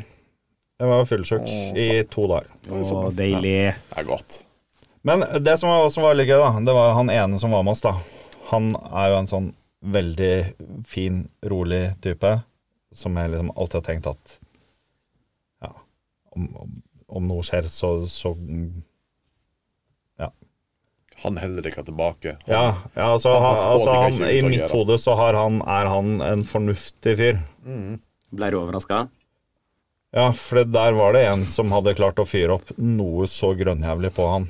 S5: jeg var fullsjuk i to dager.
S8: Å, deilig.
S4: Det er godt.
S5: Men det som var, som var litt gøy, da, det var han ene som var med oss, da. Han er jo en sånn veldig fin, rolig type som jeg liksom alltid har tenkt at Ja, om, om, om noe skjer, så, så
S4: Han holder dere tilbake.
S5: Ja, ja altså,
S4: Han
S5: han,
S4: passer på at
S5: altså
S4: det
S5: han,
S4: ikke
S5: i
S4: utagerer.
S5: mitt hode så har han, er han en fornuftig fyr.
S3: ble du overraska?
S5: Ja, for det der var det en som hadde klart å fyre opp noe så grønnjævlig på han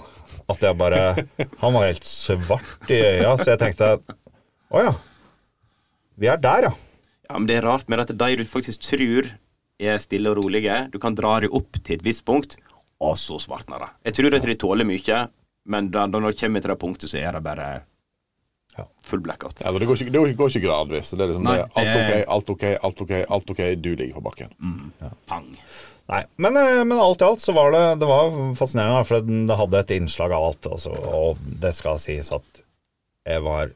S5: at jeg bare Han var helt svart i øya, så jeg tenkte Å ja. Vi er der, ja.
S3: Ja, men det er rart med at de du faktisk tror er stille og rolige, du kan dra dem opp til et visst punkt, og så svartner det. Jeg tror at de tåler mye, men da, da når det kommer til det punktet, så er det bare
S5: Ja.
S3: full blackout.
S4: Ja, men det, går ikke, det går ikke- går ikke gradvis. Det er liksom
S3: Nei,
S4: det, alt ok,
S3: det-
S4: alt ok, alt ok, alt ok, du ligger på bakken.
S3: Pang.
S5: Nei, men, eh, men alt i alt så var det, det var fascinerende, da, for den- det hadde et innslag av alt. Altså, og det skal sies at jeg var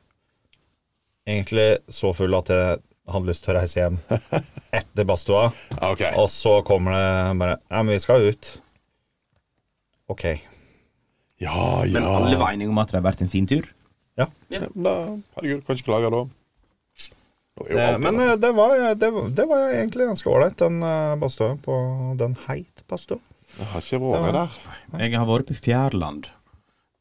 S5: egentlig så full at jeg hadde lyst til å reise hjem etter badstua.
S4: Ja, ok.
S5: Og så kommer det bare Ja, men vi skal ut. Ok.
S4: Ja, ja.
S3: Men alle var enige om at det har vært en fin tur.
S5: Ja.
S4: Ja, men Da, herregud, kan ikke klage da. Det er jo
S5: Eh,
S4: alltid
S5: Men
S4: noe.
S5: eh, det var, det, var- det var egentlig ganske ålreit, den eh, badstua på Den heit badstua.
S4: Jeg har ikke vært der.
S3: Jeg har vært på Fjærland.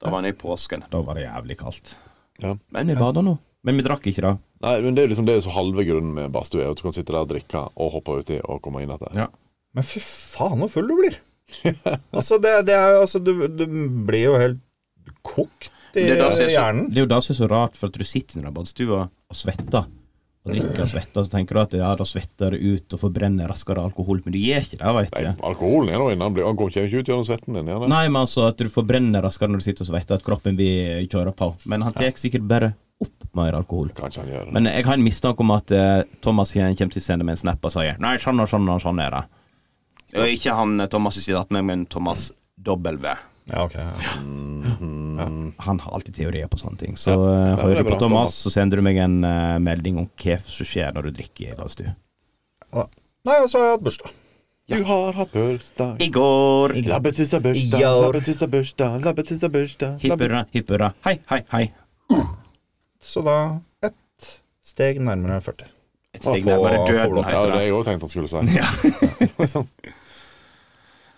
S3: Da var jeg i påsken. Da var det jævlig kaldt.
S4: Ja.
S3: Men vi bada nå. Men vi drakk ikke, da.
S4: Nei, men det er liksom det er så halve grunnen med badstue. er at Du kan sitte der og drikke og hoppe uti og komme inn igjen.
S3: Ja.
S5: Men fy faen, hvor full du
S4: (laughs)
S5: blir. altså, det, det er, altså du, du blir jo helt kokt i
S3: Det er da som er så-
S5: hjernen.
S3: Det er jo det som er så rart, for at du sitter i den badstua og svetter. Og drikker og svetter, så tenker du at ja, da svetter det ut og forbrenner raskere alkohol. Men du gjør ikke det, veit
S4: Nei,
S3: du.
S4: alkoholen er nå inne. Han blir- han kommer ikke ut gjennom svetten din. Gjerne.
S3: Nei, men altså at du forbrenner raskere når du sitter og svetter, at kroppen vil kjøre på. Men han tar sikkert bare opp mer alkohol.
S4: Kanskje han gjør det.
S3: Men jeg har en mistanke om at eh, Thomas igjen kommer til å sende meg en snap og sier Nei, sånn og sånn og sånn er det. Og ikke han eh, Thomas i side 18, men Thomas W.
S5: Ja, ok. ja.
S3: Han har alltid teorier på sånne ting. Så eh,
S4: det er
S3: hører du
S4: bra,
S3: på Thomas,
S4: Thomas.
S3: så sender du meg en eh, melding om hva som skjer når du drikker i badstue.
S5: Nei, og så har jeg hatt bursdag.
S4: Du har hatt bursdag.
S3: I går
S4: Labbetuss er bursdag,
S3: Ja.
S4: labbetuss er bursdag, labbetuss er bursdag.
S3: Hipp
S4: labbe-
S3: hurra, hipp hurra. Hei, hei, hei.
S5: Så da ett steg nærmere 40.
S3: Et steg
S5: På-
S3: nærmere døden,
S5: på
S4: Ja,
S3: heter
S4: det
S3: det.
S4: er jeg òg tenkte
S3: (laughs)
S4: han skulle si.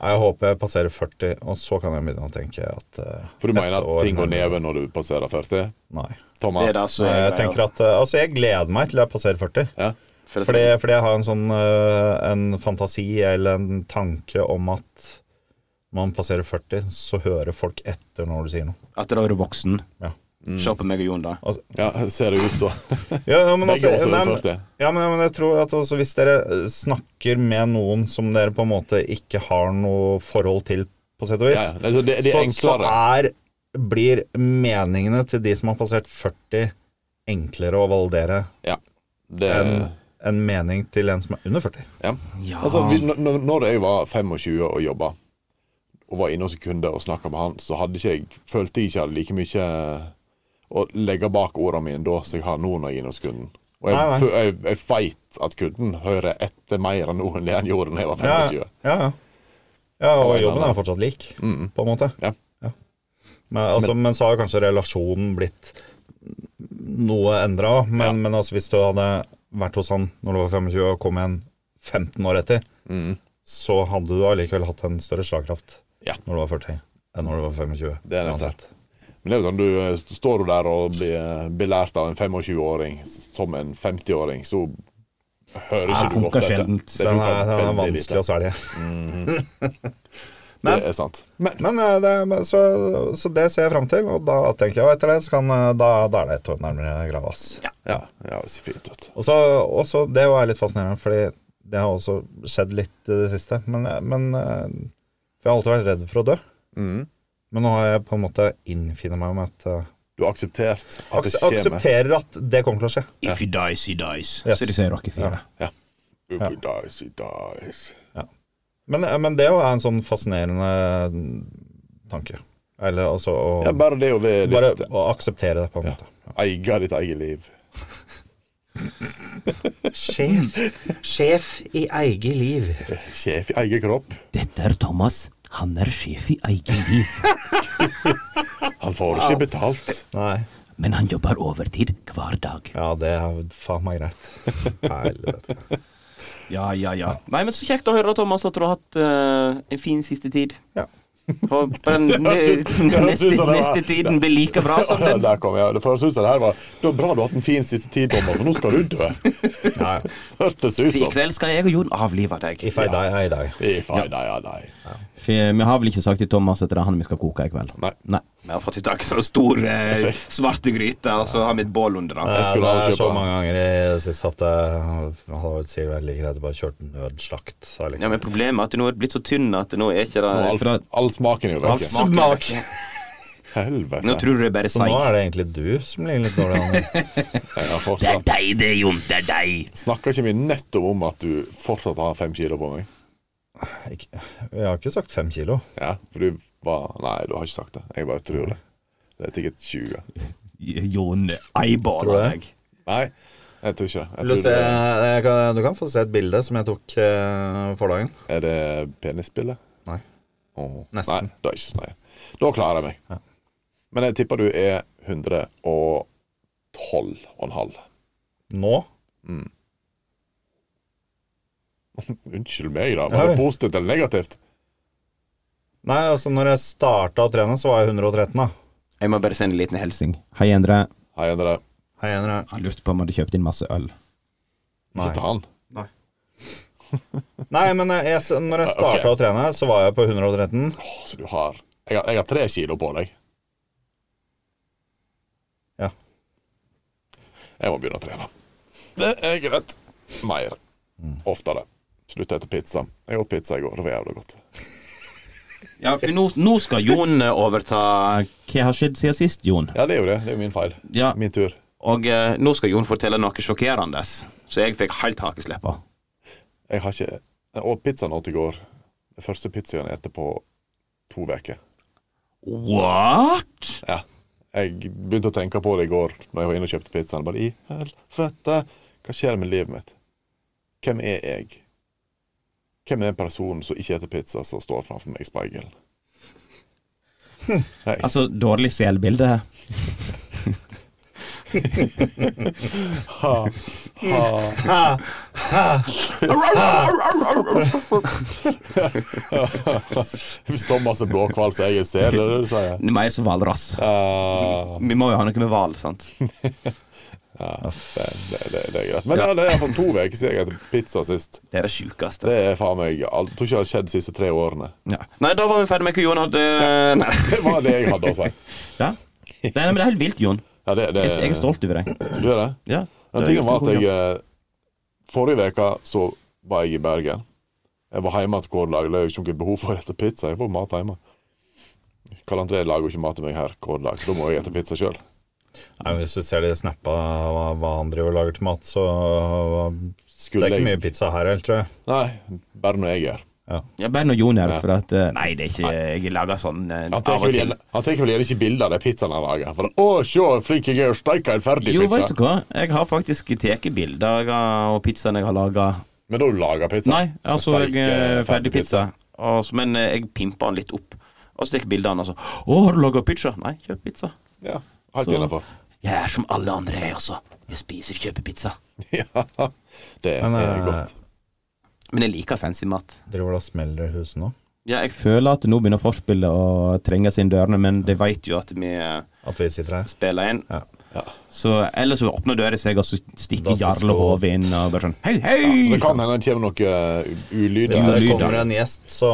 S5: Jeg håper jeg passerer 40, og så kan jeg begynne å tenke at eh,
S4: For du
S5: et
S4: mener at
S5: år
S4: ting går
S5: nærmere-
S4: nedover når du passerer 40?
S5: Nei.
S4: Thomas?
S5: Så jeg tenker at eh, Altså, jeg gleder meg til jeg passerer 40.
S4: Ja.
S5: Fordi, fordi jeg har en sånn eh, En fantasi eller en tanke om at når man passerer 40, så hører folk etter når du sier
S4: (laughs)
S5: noe.
S3: At da er du voksen.
S5: Ja.
S3: Se på meg og Jon, da.
S4: ja, ser det ut (laughs) så.
S5: Ja, ja, men,
S4: Begge
S5: altså,
S4: oss er det
S5: nei, men,
S4: første.
S5: ja, men, men jeg tror at altså, hvis dere eh, snakker med noen som dere på en måte ikke har noe forhold til, på sett og
S4: Ja,
S5: vis,
S4: ja. Altså, det, det er
S5: så, så
S4: enklere.
S5: er, blir meningene til de som har passert 40, enklere å validere
S4: Ja. Det,
S5: enn en mening til en som er under 40.
S4: ja. Altså, vi, når, når jeg var 25 og jobba, og var inne hos en kunde og snakka med han, så hadde ikke jeg, følte jeg ikke jeg hadde like mye å legge bak ordene mine da som jeg har nå når jeg er inne hos kunden. Og jeg,
S5: Nei, nei.
S4: fø- jeg, jeg veit at kunden hører etter mer nå enn det han gjorde da jeg var
S5: Ja,
S4: 25.
S5: ja, ja. ja og
S4: Ja, ja,
S5: jobben
S4: ja.
S5: er fortsatt lik, på en måte.
S4: Mm. Ja.
S5: Men, altså, men, så har jo kanskje relasjonen blitt noe endra, men, men altså, hvis du hadde vært hos han når du var 25 og kom igjen 15 år etter, så hadde du allikevel hatt en større slagkraft
S4: Mm. Ja.
S5: når du var 40 enn når du var 25.
S4: Det er det.
S5: uansett.
S4: Men det er jo sånn, du eh, står eh, du der og blir, blir lært av en 25-åring som en 50-åring, så hører ikke du
S5: Det
S4: godt
S5: funker
S4: etter.
S5: sjelden.
S4: Det
S5: Den
S4: funker
S5: er, den er
S4: veldig
S5: vanskelig å svelge.
S4: lite. Det er sant. Men
S5: Men eh, det, er- men så, så det ser jeg fram til, og da tenker jeg og etter det så kan eh, da, da er det et år nærmere Gravas.
S4: Ja, ja det ser fint ut.
S5: Og så også, det var litt fascinerende, fordi det har også skjedd litt i det siste. Men, men eh, For jeg har alltid vært redd for å dø.
S4: Mhm.
S5: Men nå har jeg på en måte innfinnet meg med at eh,
S4: Du har akseptert at det
S5: akse-
S4: skjer med
S5: Aksepterer at det kommer til å skje.
S6: If you dies, he dies.
S5: Yes.
S3: Så de sier Rocky 4.
S4: If he dies, he dies.
S5: Men, men det er jo en sånn fascinerende tanke. Eller altså å
S4: Ja, bare det å være
S5: bare
S4: litt
S5: å akseptere det, på en måte.
S4: eie ditt eget liv.
S5: Sjef. Sjef i eget liv.
S4: Sjef i egen kropp.
S2: Dette er Thomas. Han er sjef i eget liv,
S4: Han får ikke betalt.
S5: Nei.
S2: men han jobber overtid hver dag.
S5: Ja, det er faen meg greit.
S4: (laughs)
S5: Helvete.
S6: Ja, ja, ja. Nei, men så kjekt å høre, Thomas, at du har hatt eh, en fin siste tid.
S5: Ja.
S6: Og den neste,
S4: det var-
S6: neste tiden blir like bra som
S4: Ja,
S6: den.
S4: der kom jeg. Det føles ut som det her var Det var bra du har hatt en fin siste tid, Thomas, for nå skal du dø. Hørtes ut
S6: I
S4: som.
S6: kveld skal jeg og Jon avlive deg.
S5: If I die, I die.
S4: If I die, I die.
S3: For vi har vel ikke sagt til Thomas at det er han vi skal koke i kveld?
S4: Nei.
S6: Vi har fått i tak i sånn stor eh, svarte gryte, og så har vi et bål under den.
S5: Ja,
S4: skulle
S5: det
S4: aldri
S5: er så
S4: kjøpe.
S5: mange ganger i det siste at jeg hadde vært sikkert vært like greit å bare kjørt nødslakt. sa jeg liksom. litt.
S6: Ja, men Problemet er at nå er det blitt så tynn at nå er ikke det
S4: All, all smaken er jo
S6: All
S4: vekke.
S6: smaken-
S5: Smak.
S6: Nå
S4: Helvete.
S6: tror du det er bare
S5: Så nå
S6: seig.
S5: er det egentlig du som ligger litt dårlig an.
S4: Jeg har
S2: Det er
S4: fortsatt
S2: deg, det, Jon. Det er deg.
S4: Snakka ikke vi nettopp om at du fortsatt har fem kilo på meg?
S5: Ikke- Jeg har ikke sagt fem kilo.
S4: Ja, for du var Nei, du har ikke sagt det. Jeg bare tror det. Det er sikkert 20.
S3: Jon
S5: Tror
S6: Eiballer
S5: du det?
S6: meg.
S4: Nei, jeg tror ikke
S5: Vil du,
S4: jeg
S5: se,
S4: tror det.
S5: jeg kan, du kan få se et bilde som jeg tok eh, for dagen.
S4: Er det penisbildet?
S5: Nei.
S4: Åh.
S5: Nesten.
S4: Nei, da, er ikke, nei. da klarer jeg meg. Men jeg tipper du er 112,5.
S5: Nå?
S4: Mm. (laughs) Unnskyld meg, da. Var
S5: Oi.
S4: det positivt eller negativt?
S5: Nei, altså når jeg starta å trene, så var jeg 113, da.
S6: Jeg må bare sende en liten hilsen.
S3: Hei, Endre.
S4: Hei, Endre.
S5: Hei, Henrik.
S3: Han lurte på om han hadde kjøpt inn masse øl.
S5: Nei.
S4: Ikke til han.
S5: Nei, men jeg, jeg, når jeg starta å trene, så var jeg på 113.
S4: Åh, så du har jeg, har jeg har tre kilo på deg.
S5: Ja.
S4: Jeg må begynne å trene. Det er greit. Mer.
S5: Mm.
S4: Oftere. Slutte etter pizza. Jeg åt pizza i går. Det var jævlig godt.
S6: Ja, for nå, nå skal Jon eh, overta,
S3: Hva har skjedd siden sist, Jon?
S4: Ja, det er jo det. Det er jo min feil.
S6: Ja.
S4: Min tur.
S6: og eh, nå skal Jon fortelle noe sjokkerende. Så jeg fikk helt hakesleppa.
S4: Jeg har ikke Jeg åt pizzaen åt i går. Den første pizzaen jeg spiste på to uker.
S6: What?
S4: Ja. Jeg begynte å tenke på det i går Når jeg var inne og kjøpte pizzaen. Bare i helvete, hva skjer med livet mitt? Hvem er jeg? Hvem er den personen som ikke spiser pizza, som står framfor meg i speilet?
S3: Altså, dårlig selbilde.
S4: (laughs) Hvis Thomas er blåhval, så er jeg en sel, er det det du
S3: (laughs)
S4: sier?
S6: Meg som hvalrass.
S4: Ah,
S6: Vi må jo ha noe med hval, sant?
S4: det, det, det, det er greit. Men ja. det er for to uker siden jeg spiste pizza sist.
S6: Det er det sjukeste.
S4: Det er faen meg alt- Tror ikke det har skjedd de siste tre årene. (laughs)
S6: Ja. Nei, da var vi ferdig med hva Jon hadde Nei.
S4: Det var det jeg hadde å si.
S3: Ja. Nei, nei, men det er helt vilt, Jon.
S4: Ja, det, det,
S3: Jeg, jeg er stolt over deg.
S4: Du er det?
S3: Ja.
S4: Den
S3: Du har
S4: tingen
S3: gjort
S4: var
S3: en
S4: at
S3: god
S4: jeg
S3: jobb.
S4: eh, Forrige uke så var jeg i Bergen. Jeg var hjemme til hver dag. Det er jo ikke noe behov for å spise pizza. Jeg får mat hjemme. Karl André lager jo ikke mat til meg her hver dag, så da må jeg spise pizza sjøl.
S5: Nei, men Hvis du ser de snappa hva, hva han driver og lager til mat, så Det
S4: Skulle
S5: er ikke
S4: jeg
S5: mye pizza her heller, tror jeg.
S4: Nei, bare når jeg er her.
S3: Ja, bare når Jon er her, for at eh,
S6: Nei, det er ikke Jeg lager sånn eh,
S4: Han tar
S6: av og
S4: vel
S6: til.
S4: gjerne- han tar vel gjerne ikke bilder av de pizzaene han lager. For, 'Å, se, flink jeg er, og steika en ferdig
S3: Jo, veit
S4: pizza'.
S3: du hva? Jeg har faktisk tatt bilder av pizzaen jeg har laga.
S4: Men da lager pizza.
S6: Nei, altså
S4: Steik,
S6: jeg, eh,
S4: eh,
S6: ferdig pizza. Altså, men eh, jeg pimper den litt opp. Og så tar jeg bilde av den, og så 'Å, har du laga pizza?' Nei, kjøp pizza.
S4: Ja, helt
S3: Så-
S4: innafor.
S6: Jeg er som alle andre, jeg også. Jeg spiser kjøpepizza.
S4: (laughs) ja, det
S5: Men,
S4: er
S5: eh,
S4: godt.
S6: Men jeg liker fancy mat.
S5: Driver du og smeller i huset nå?
S6: Ja, jeg f-
S3: Føler at nå begynner forspillet å trenge sine dørene, men det veit
S6: vet jo at vi eh,
S5: At vi sitter her?
S6: spiller inn.
S5: Ja.
S3: Så Ellers så åpner døra seg, og så stikker Jarle hodet inn og bare sånn Hei, hei!
S4: Så det kan
S3: sånn.
S4: hende det kommer noe uh, ulyd.
S5: Hvis det
S3: lyder.
S5: kommer en gjest, så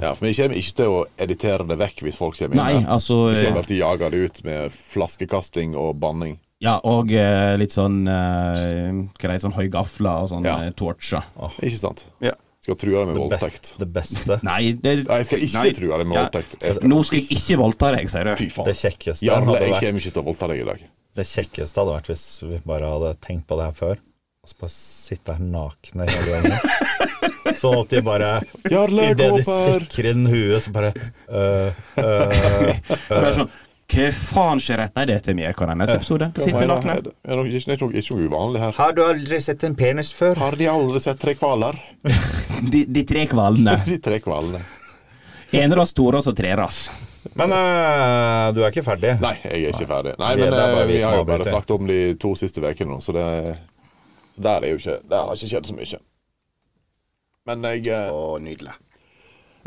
S4: Ja, for vi kommer ikke til å editere det vekk hvis folk kommer inn.
S3: Nei,
S4: her.
S3: altså
S4: Vi kommer bare til å jage det ut med flaskekasting og banning.
S3: Ja, og eh, litt sånn eh, Hva det heter sånn høygafler og sånn
S4: Ja.
S3: eh, torcher.
S4: Ikke sant?
S6: Ja.
S4: Skal true det med voldtekt.
S5: best, det beste,
S3: Nei, det
S4: Nei, jeg skal ikke
S3: nei.
S4: true det med
S3: Ja.
S4: voldtekt. Jeg skal,
S3: Nå skal jeg ikke voldta deg, sier du.
S4: fy
S5: det
S4: faen.
S5: kjekkeste
S4: Jarle,
S5: hadde
S4: jeg
S5: vært
S4: kommer ikke til å voldta deg i dag.
S5: Det kjekkeste hadde vært hvis vi bare hadde tenkt på det her før, og så bare sitte her nakne hele
S6: (laughs)
S5: gangen. Sånn at de bare
S4: Jarle, kom
S5: Idet de
S4: opp her!
S5: stikker inn huet, så bare øh, øh,
S3: Bare sånn Hva faen skjer her? Nei, det er til meg, hva er neste episode? Da sitter vi nakne.
S4: Det er nok ikke, ikke, ikke noe uvanlig her.
S5: Har du aldri sett en penis før?
S4: Har de aldri sett tre hvaler?
S3: De, de tre kvalene.
S4: (laughs) De tre hvalene.
S3: Eneras, toras og treras.
S5: Men øh, du er ikke ferdig.
S4: Nei, jeg er ikke ferdig. Nei,
S5: Vi-
S4: men
S5: det er bare
S4: eh,
S5: vi
S4: vi
S5: som
S4: har jo
S5: avbryter.
S4: bare snakket om de to siste ukene nå, så det Der er jo ikke Der har ikke skjedd så mye. Men jeg eh,
S6: Å, nydelig.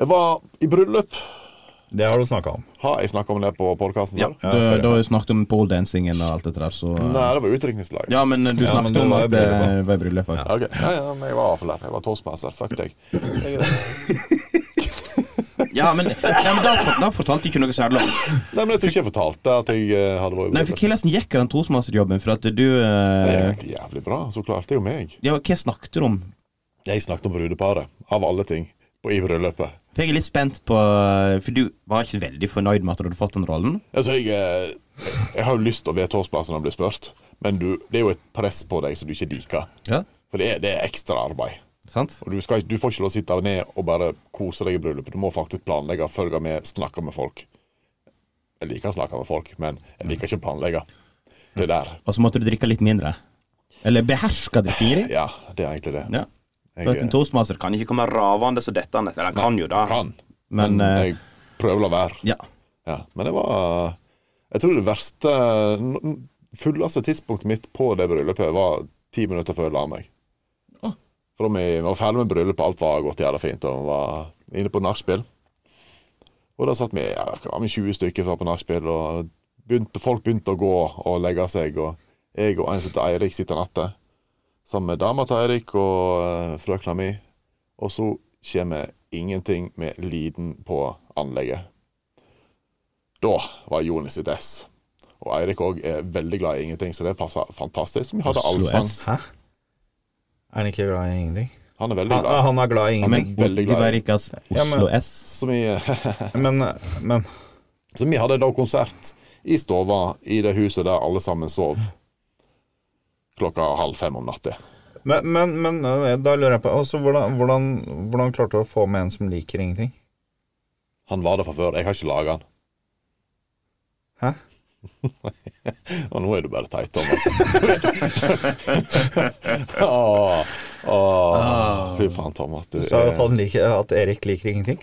S4: Jeg var i bryllup.
S5: Det har du snakka om.
S4: Har jeg snakket om det på podkasten? Ja.
S5: Ja,
S3: Da
S5: sorry.
S3: da har vi snakket om poledancingen og alt dette der, så
S4: Nei, det var utdrikningslag.
S3: Ja, men du
S5: Ja, men
S3: snakket
S5: det
S3: om
S5: var
S3: at
S5: i
S3: det
S5: bryllupet.
S3: var i bryllupet.
S4: Ok, ja, ja, men jeg var avfall der. Jeg var toastmaster. Fuck deg. Jeg er det.
S3: Ja, men, ja, men da, for- da fortalte jeg ikke noe særlig om
S4: Nei, men jeg tror ikke jeg fortalte at jeg eh, hadde vært i
S3: Nei, for
S4: bryllup.
S3: hvordan gikk den trosmasterjobben? For at du
S4: Det
S3: eh,
S4: gikk jævlig bra. Så klarte jeg jo meg.
S3: Ja, hva snakket du om?
S4: Jeg snakket om brudeparet, av alle ting, på, i bryllupet.
S3: For jeg er litt spent på eh, For du var ikke veldig fornøyd med at du hadde fått den rollen?
S4: Altså, jeg, eh, jeg har jo lyst til å være toastmaster når jeg blir spurt, men du, det er jo et press på deg som du ikke liker.
S3: Ja.
S4: For det er, det er ekstra arbeid.
S3: Sant?
S4: Og du, skal, ikke- du får ikke lov å sitte ned og bare kose deg i bryllupet. Du må faktisk planlegge, følge med, snakke med folk. Jeg liker å snakke med folk, men jeg liker ikke å planlegge. Det der.
S3: Og så måtte du drikke litt mindre? Eller beherska drikking?
S4: Ja, det er egentlig det.
S3: Ja. For at
S4: Jeg
S3: en toastmaster kan
S6: Kan ikke komme ravende så dettende. Eller han kan jo da.
S4: eh, kan,
S3: Men,
S4: men
S3: eh,
S4: jeg prøver å la være.
S3: Ja.
S4: Ja, men det var Jeg tror det verste n- n- Fulleste tidspunktet mitt på det bryllupet var ti minutter før jeg la meg.
S3: Å.
S4: For da vi vi var ferdig med bryllupet, alt var gått jævla fint, og vi var inne på nachspiel. Og da satt vi ja, hva var vi 20 stykker som var på nachspiel, og begynte, folk begynte å gå og legge seg. Og jeg og en som heter Eirik, sitter natta sammen med dama til Eirik og eh, frøkna mi. Og så kommer ingenting med lyden på anlegget. Da var Jonis sitt ess. Og Eirik òg er veldig glad i ingenting, så det passa fantastisk. Vi hadde
S3: Oslo
S4: allsang.
S6: sånn.
S3: S.
S5: Hæ? Er han ikke glad i ingenting?
S4: Han er veldig
S5: Han,
S4: glad.
S5: han er glad i
S3: Men
S5: ingenting.
S4: veldig glad i-
S3: Bolivaricas
S5: Ja,
S3: altså.
S5: men-
S3: Oslo S.
S4: Så vi, eh,
S5: Men, men
S4: så vi hadde da konsert i stova i det huset der alle sammen sov. Klokka halv fem om natta.
S5: Men, men, men øh, da lurer jeg på altså, hvordan, hvordan, hvordan klarte du å få med en som liker ingenting?
S4: Han var der fra før. Jeg har ikke laga han.
S5: Hæ?
S4: (laughs) Og nå er du bare teit, Thomas. (laughs) Åh, åh. Fy faen, Thomas. Du
S5: Du sa jo at,
S4: er
S5: han liker, at Erik liker ingenting.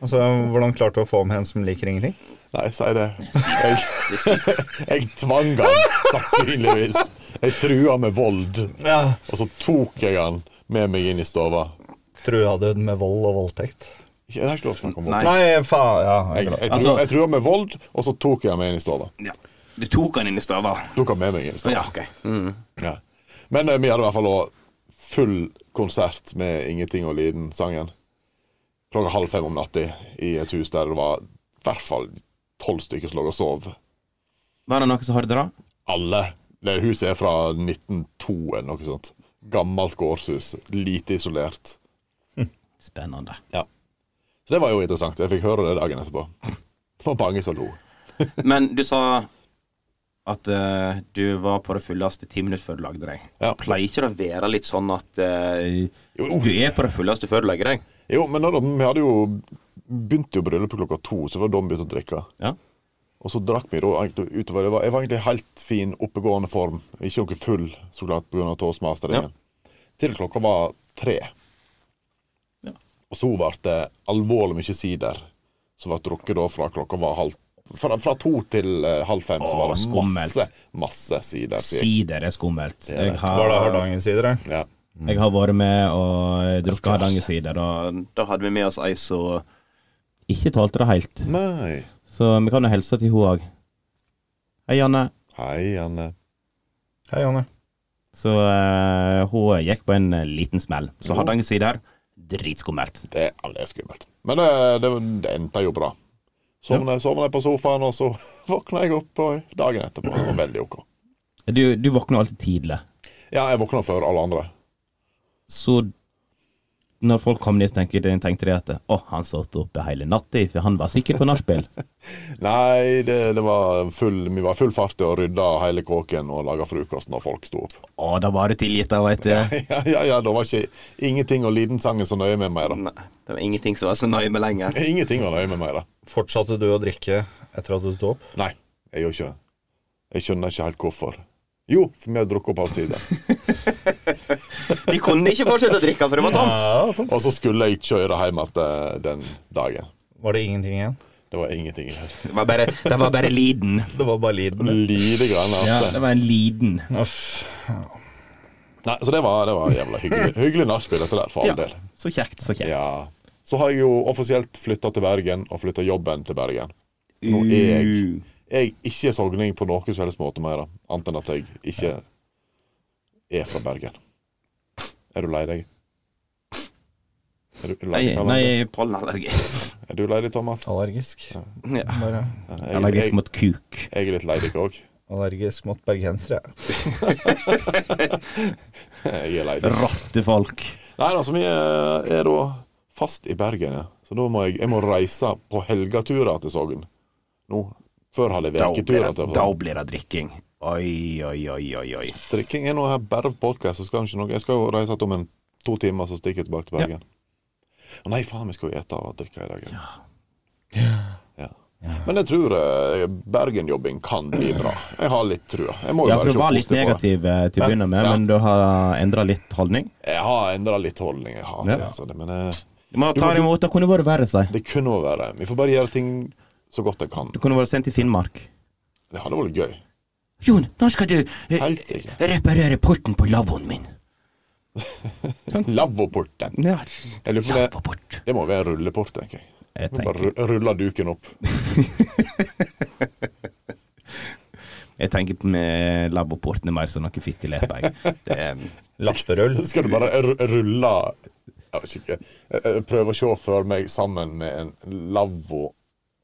S5: Altså, Hvordan klarte du å få med en som liker ingenting?
S4: Nei, si det. Jeg, jeg tvang han, sannsynligvis. Jeg trua med vold.
S5: Ja.
S4: Og så tok jeg han med meg inn i stova.
S5: Trua du den med vold og voldtekt?
S4: Jeg har ikke lov til å snakke om vold.
S6: Nei.
S5: Nei, faen. Ja, jeg
S4: Jeg,
S5: er glad. Altså-
S4: jeg, trua, jeg trua med vold, og så tok jeg han med inn i stova.
S6: Ja. Du tok han inn i stava.
S4: Tok han med meg inn i stova.
S6: Ja, ok.
S4: Ja. Men eh, vi hadde i hvert fall også full konsert med 'Ingenting og Liden'-sangen. Klokka halv fem om natta i et hus der det var i hvert fall tolv stykker som lå og sov.
S3: Var det noen som hørte det? da?
S4: Alle. Det huset er fra 1902 eller noe sånt. Gammelt gårdshus. Lite isolert.
S3: Spennende.
S4: Så det var jo interessant. Jeg fikk høre det dagen etterpå. (laughs) Det var mange som lo.
S6: Men du sa at eh, du var på det fulleste ti minutter før du lagde deg.
S4: Ja.
S6: Pleier ikke det å være litt sånn at eh,
S4: Jo.
S6: du er på det fulleste før du legger deg?
S4: Jo, men da, vi hadde jo begynte jo bryllupet klokka to, så var det da vi begynte å drikke.
S3: Ja.
S4: Og så drakk vi da egentlig utover. Jeg var, jeg var egentlig i helt fin, oppegående form. Ikke noe full, så klart, pga. toastmasteringen. Til klokka var tre.
S3: Ja.
S4: Og så ble det alvorlig mye sider, som ble drukket da fra klokka var halv fra, fra to til eh, halv fem, så
S3: Åh,
S4: var det
S3: skummelt.
S4: masse, masse sider. sier jeg.
S3: Sider er skummelt. Jeg
S5: Var det
S3: har,
S5: Hardangersider, eller?
S4: Ja.
S3: Mm. jeg har vært med og
S4: Of course.
S3: drukket Hardangersider, og
S6: Og da hadde vi med oss ei som
S3: ikke tålte det helt.
S4: Nei.
S3: Så vi kan jo hilse til hun òg. Hei, Janne.
S4: Hei, Anne.
S9: Hei, Janne.
S3: Så eh, hun gikk på en eh, liten smell. Så Hardanger-sider, dritskummelt.
S4: Det er aldri skummelt. Men det, det, det endte jo bra. Sovna sovna jeg på sofaen, og så (laughs) våkna jeg opp og dagen etterpå. Det var veldig ok.
S3: Du, du våkner alltid tidlig.
S4: Ja, jeg våkna før alle andre.
S3: Så når folk kom ned, så tenkte de, tenkte de at å, han satt oppe hele natta, for han var sikkert på nachspiel.
S4: Nei, det, det var full, vi var full fart og rydda hele kåken og laga frokost når folk sto opp. (laughs)
S3: å, da var du tilgitt, da, veit du.
S4: Ja, ja, ja, det var ikke ingenting og lidensangen så nøye med meg, da.
S6: Nei, det var ingenting som var så nøye med lenger.
S4: Ingenting var nøye med meg, da.
S9: Fortsatte du å drikke etter at du sto opp?
S4: Nei, jeg gjør ikke det. Jeg skjønner ikke helt hvorfor. Jo, for vi har drukket opp halvsida.
S6: Vi kunne ikke fortsette å drikke, for det var tomt.
S4: Og så skulle jeg kjøre hjem igjen den dagen.
S9: Var det ingenting igjen?
S4: Det var ingenting igjen.
S6: Det var bare, det var bare liden.
S9: Det var bare liden.
S4: Lite grann.
S3: Ja,
S4: at-
S3: det var en liten.
S9: Uff.
S4: Nei, så det var, det var
S3: (laughs)
S4: jævla hyggelig. Hyggelig nachspiel, dette der, for all
S3: Ja,
S4: del.
S3: så kjekt, så kjekt.
S4: Ja. Så har jeg jo offisielt flytta til Bergen, og flytta jobben til Bergen. Så nå er jeg, jeg ikke sogning på noen som helst måte mer, annet enn at jeg ikke er fra Bergen. Er du lei deg? Er du, er du lei
S3: Nei,
S4: deg, Karl
S3: nei,
S4: André?
S6: Pollenallergi.
S4: Er du lei deg, Thomas?
S6: Mm.
S9: Allergisk.
S6: Ja.
S9: Bare
S4: Jeg,
S3: allergisk
S4: jeg,
S3: mot kuk.
S4: jeg er litt lei deg òg.
S9: allergisk mot bergensere.
S4: (laughs) Jeg er lei deg.
S3: Rottefolk.
S4: Nei, altså, vi er, er da fast i Bergen, ja. Så da må jeg, jeg må reise på helgeturer til Sogn. Nå. Før hadde jeg
S6: Da blir
S4: uketurer
S6: det,
S4: til
S6: da blir det drikking. Oi, oi, oi, oi. oi.
S4: Drikking er nå her bare på podcast, så skal jeg ikke noe. Jeg skal jo reise om en to timer, så stikker jeg tilbake til Bergen. Å nei, faen, vi skal jo ete og drikke i dag. Ja. Ja. Men jeg tror eh, Bergen-jobbing kan bli bra. Jeg har litt trua. Jeg må jo
S3: Ja, for
S4: bare
S3: du
S4: se
S3: var litt
S4: positivt på det.
S3: negativ eh, til å begynne med,
S4: Ja.
S3: men du har endra litt holdning.
S4: Jeg har endra litt holdning, jeg har
S3: Ja.
S4: det. Altså, det- men eh,
S3: Du må ta
S4: Du-
S3: det imot. Det kunne vært verre, si.
S4: det kunne jo være Vi får bare gjøre ting så godt jeg kan.
S3: Du kunne vært sendt til Finnmark.
S4: Det hadde vært gøy.
S2: Jon, nå skal du eh,
S4: Helt sikkert.
S2: reparere porten på lavvoen min.
S4: Lavvoporten.
S3: Ja,
S4: Jeg lurer på om det,
S2: Lavvoport.
S4: det må være rulleport, tenker jeg.
S3: jeg
S4: Må Bare
S3: tenker,
S4: ru- rulle duken opp. (laughs)
S3: jeg tenker på med laboportene mer som noe fittelepe, jeg. Det er
S4: (laughs)
S9: Lapperull.
S4: Skal du bare ru- rulle Jeg vet ikke. Jeg- jeg Prøver å se for meg sammen med en lavvo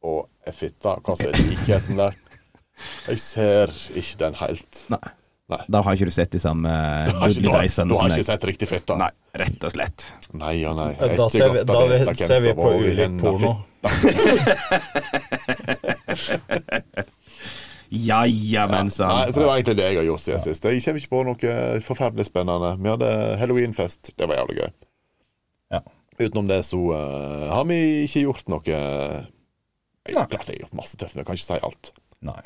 S4: og ei fitte. Hva som er likheten der? Jeg ser ikke den helt.
S3: Nei.
S4: Nei.
S3: Da har ikke du sett de samme
S4: Du har ikke, du har,
S3: dudledeisene
S4: du har
S3: som
S4: ikke
S3: jeg.
S4: sett riktig fitte?
S6: Nei, rett og slett.
S4: Nei og nei.
S9: Da
S4: Etter
S9: ser vi-
S4: godt å
S9: da
S4: vite
S9: vi-
S4: hvem
S9: ser vi
S4: som
S9: på
S4: var i
S9: ulik
S4: enden av
S9: porno.
S3: Jaja, men sånn.
S4: fitta. Nei,
S3: sann.
S4: så Det var egentlig det jeg har gjort siden sist. Jeg kommer ikke på noe forferdelig spennende. Vi hadde halloweenfest. Det var jævlig gøy.
S9: Ja.
S4: Utenom det så eh, har vi ikke gjort noe Jeg, klart jeg har gjort masse tøft, men jeg kan ikke si alt.
S9: Nei.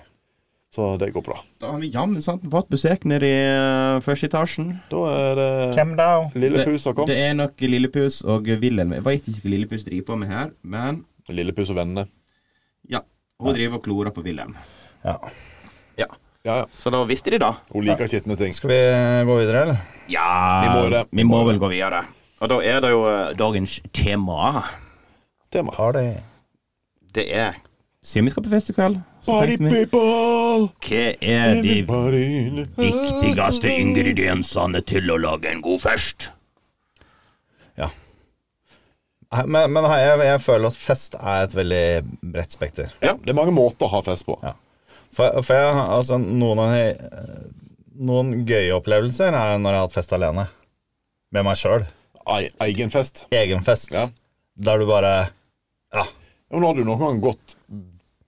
S4: Så det går bra.
S3: Da har vi jammen sant fått besøk nede i eh, første etasjen.
S4: Da er det
S9: Hvem da?
S4: Lille
S3: Det-
S4: Pus har
S3: Det
S4: kommet.
S3: er nok Lillepus og Wilhelm. Jeg veit ikke hva Lillepus driver på med her, men
S4: Lille Pus og vennene.
S3: ja. Hun driver og klorer på Wilhelm.
S9: Ja.
S6: Ja.
S4: Ja, ja.
S6: Så da visste de da.
S4: Hun liker skitne ting.
S9: Skal vi gå videre, eller?
S6: Ja,
S4: Vi må jo det.
S6: vi må vel gå videre. Og da er det jo eh, dagens tema.
S4: Tema.
S9: Party.
S6: Det er
S3: Siden vi skal på fest i kveld, så
S4: Party
S3: tenkte vi
S4: people!
S6: Hva er de
S4: Everybody in the-
S6: viktigste ingrediensene til å lage en god fest?
S9: Nei, Men, men jeg, jeg føler at fest er et veldig bredt spekter.
S4: Det er mange måter å ha fest på.
S9: For, for jeg, har- altså, noen, av de, noen gøye opplevelser er når jeg har hatt fest alene. Med meg sjøl.
S4: Ei- Egen fest.
S9: Egen fest.
S4: Ja.
S9: Der du bare Ja.
S4: Og Nå har du noen gang gått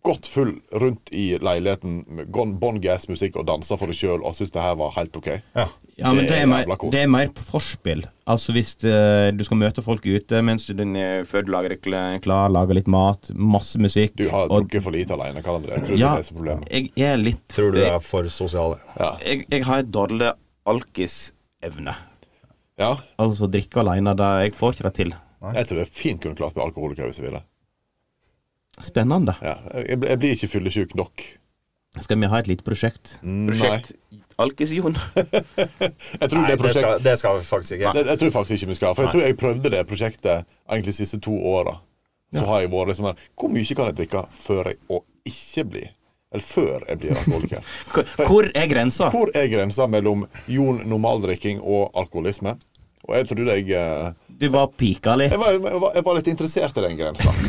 S4: Gått full rundt i leiligheten med gon- Bon Gas-musikk og dansa for deg sjøl og syns det her var helt OK.
S9: ja.
S3: Ja, men
S4: Det
S3: det
S4: er
S3: er, mer,
S4: jævla kos.
S3: det er mer på forspill. Altså hvis eh, du skal møte folk ute mens du den, eh, før du lager deg kl- klar, lager litt mat, masse musikk
S4: Du har
S3: og-
S4: drukket for lite alene, Karl André. Jeg tror
S3: Ja.
S4: det er det som er problemet.
S3: Jeg er litt
S9: Tror du er for sosial?
S6: Jeg, jeg har en dårlig alkisevne.
S4: Ja.
S3: Altså drikke alene, da jeg får ikke det til.
S4: Jeg tror det er fint kunne klart med alkoholiker hvis jeg ville.
S3: Spennende.
S4: Ja. Jeg, blir- jeg blir ikke fyllesyk nok.
S3: Skal vi ha et lite prosjekt?
S6: Prosjekt
S4: (laughs)
S6: Alkis-Jon.
S4: Jeg tror det
S9: det,
S4: prosjektet
S9: skal, det skal vi faktisk ikke.
S4: Det, jeg tror faktisk ikke vi skal. For jeg tror jeg prøvde det prosjektet egentlig de sånn siste to åra. Så har jeg vært liksom her Hvor mye kan jeg drikke før jeg og ikke blir Eller før jeg blir alkoholiker.
S10: Hvor- Hvor er grensa?
S4: (laughs) Hvor er grensa mellom jon normaldrikking og alkoholisme? Og jeg trodde jeg eh,
S10: Du var pika litt.
S4: Jeg var, jeg var, jeg var litt interessert i den grensa.
S5: (laughs)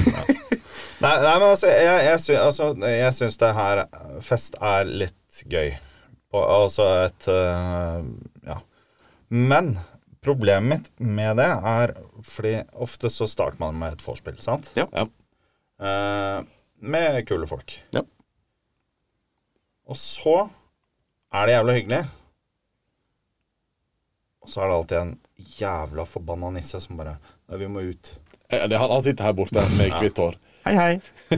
S5: Nei, nei, men altså, jeg, jeg, sy- altså, jeg syns det her eh, Fest er litt gøy. Og, altså et øh, Ja. Men problemet mitt med det er fordi ofte så starter man med et vorspiel, sant?
S3: Ja.
S4: Ja.
S5: Eh, med kule folk.
S3: Ja.
S5: Og så er det jævla hyggelig. Og så er det alltid en jævla forbanna nisse som bare Nei, vi må ut.
S4: Eh, det er Han, han sitter her borte med hvitt hår.
S10: Hei, hei.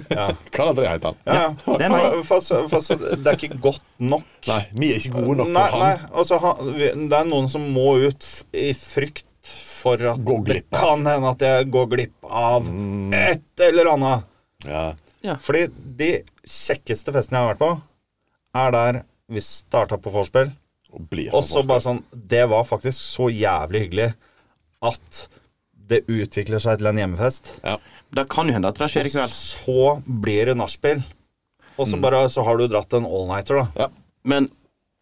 S4: Hva André heter han?
S5: Ja, ja.
S10: det er meg.
S5: For, for, så- for, så det er ikke godt nok.
S4: Nei, vi er ikke gode nok
S5: nei,
S4: for
S5: nei,
S4: han.
S5: altså, han, vi- det er noen som må ut f- i frykt for at
S4: Gå
S5: det
S4: glipp av. Mm.
S5: kan hende at jeg går glipp av et eller annet.
S4: Ja.
S5: Fordi de kjekkeste festene jeg har vært på, er der vi starta på vorspiel,
S4: Og blir
S5: og så
S4: fortsatt.
S5: bare sånn Det var faktisk så jævlig hyggelig at det utvikler seg til en hjemmefest.
S3: Det kan jo hende at det skjer i
S5: Og
S3: kveld.
S5: så blir det nachspiel. Og
S4: Mm.
S5: så bare så har du dratt en allnighter, da.
S3: Men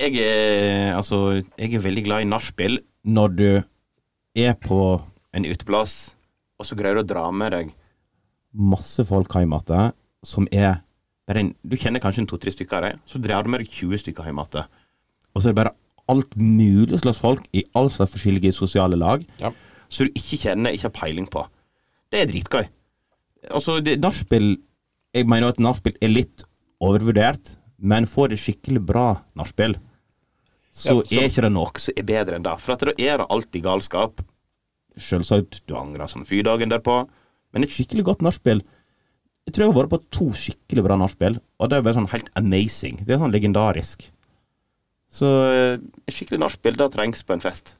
S3: jeg er, altså, jeg er veldig glad i nachspiel
S10: Når du er på
S3: en uteplass, og så greier du å dra med deg
S10: masse folk hjem igjen som er
S3: bare en, Du kjenner kanskje en to-tre stykker av dem, så drar du med deg 20 stykker hjem igjen. Og så er det bare alt mulig slags folk i all slags forskjellige sosiale lag
S4: Ja.
S3: som du ikke kjenner, ikke har peiling på. Det er dritgøy. Altså, det- nachspiel Jeg mener at nachspiel er litt overvurdert, men får det skikkelig bra nachspiel, så er ikke det noe som er bedre enn det. For at da er det alltid galskap. Selvsagt, du angrer som fy dagen derpå, men et skikkelig godt nachspiel jeg tror jeg har vært på to skikkelig bra nachspiel, og det er bare sånn helt amazing. Det er sånn legendarisk. Så eh, et skikkelig nachspiel, det trengs på en fest.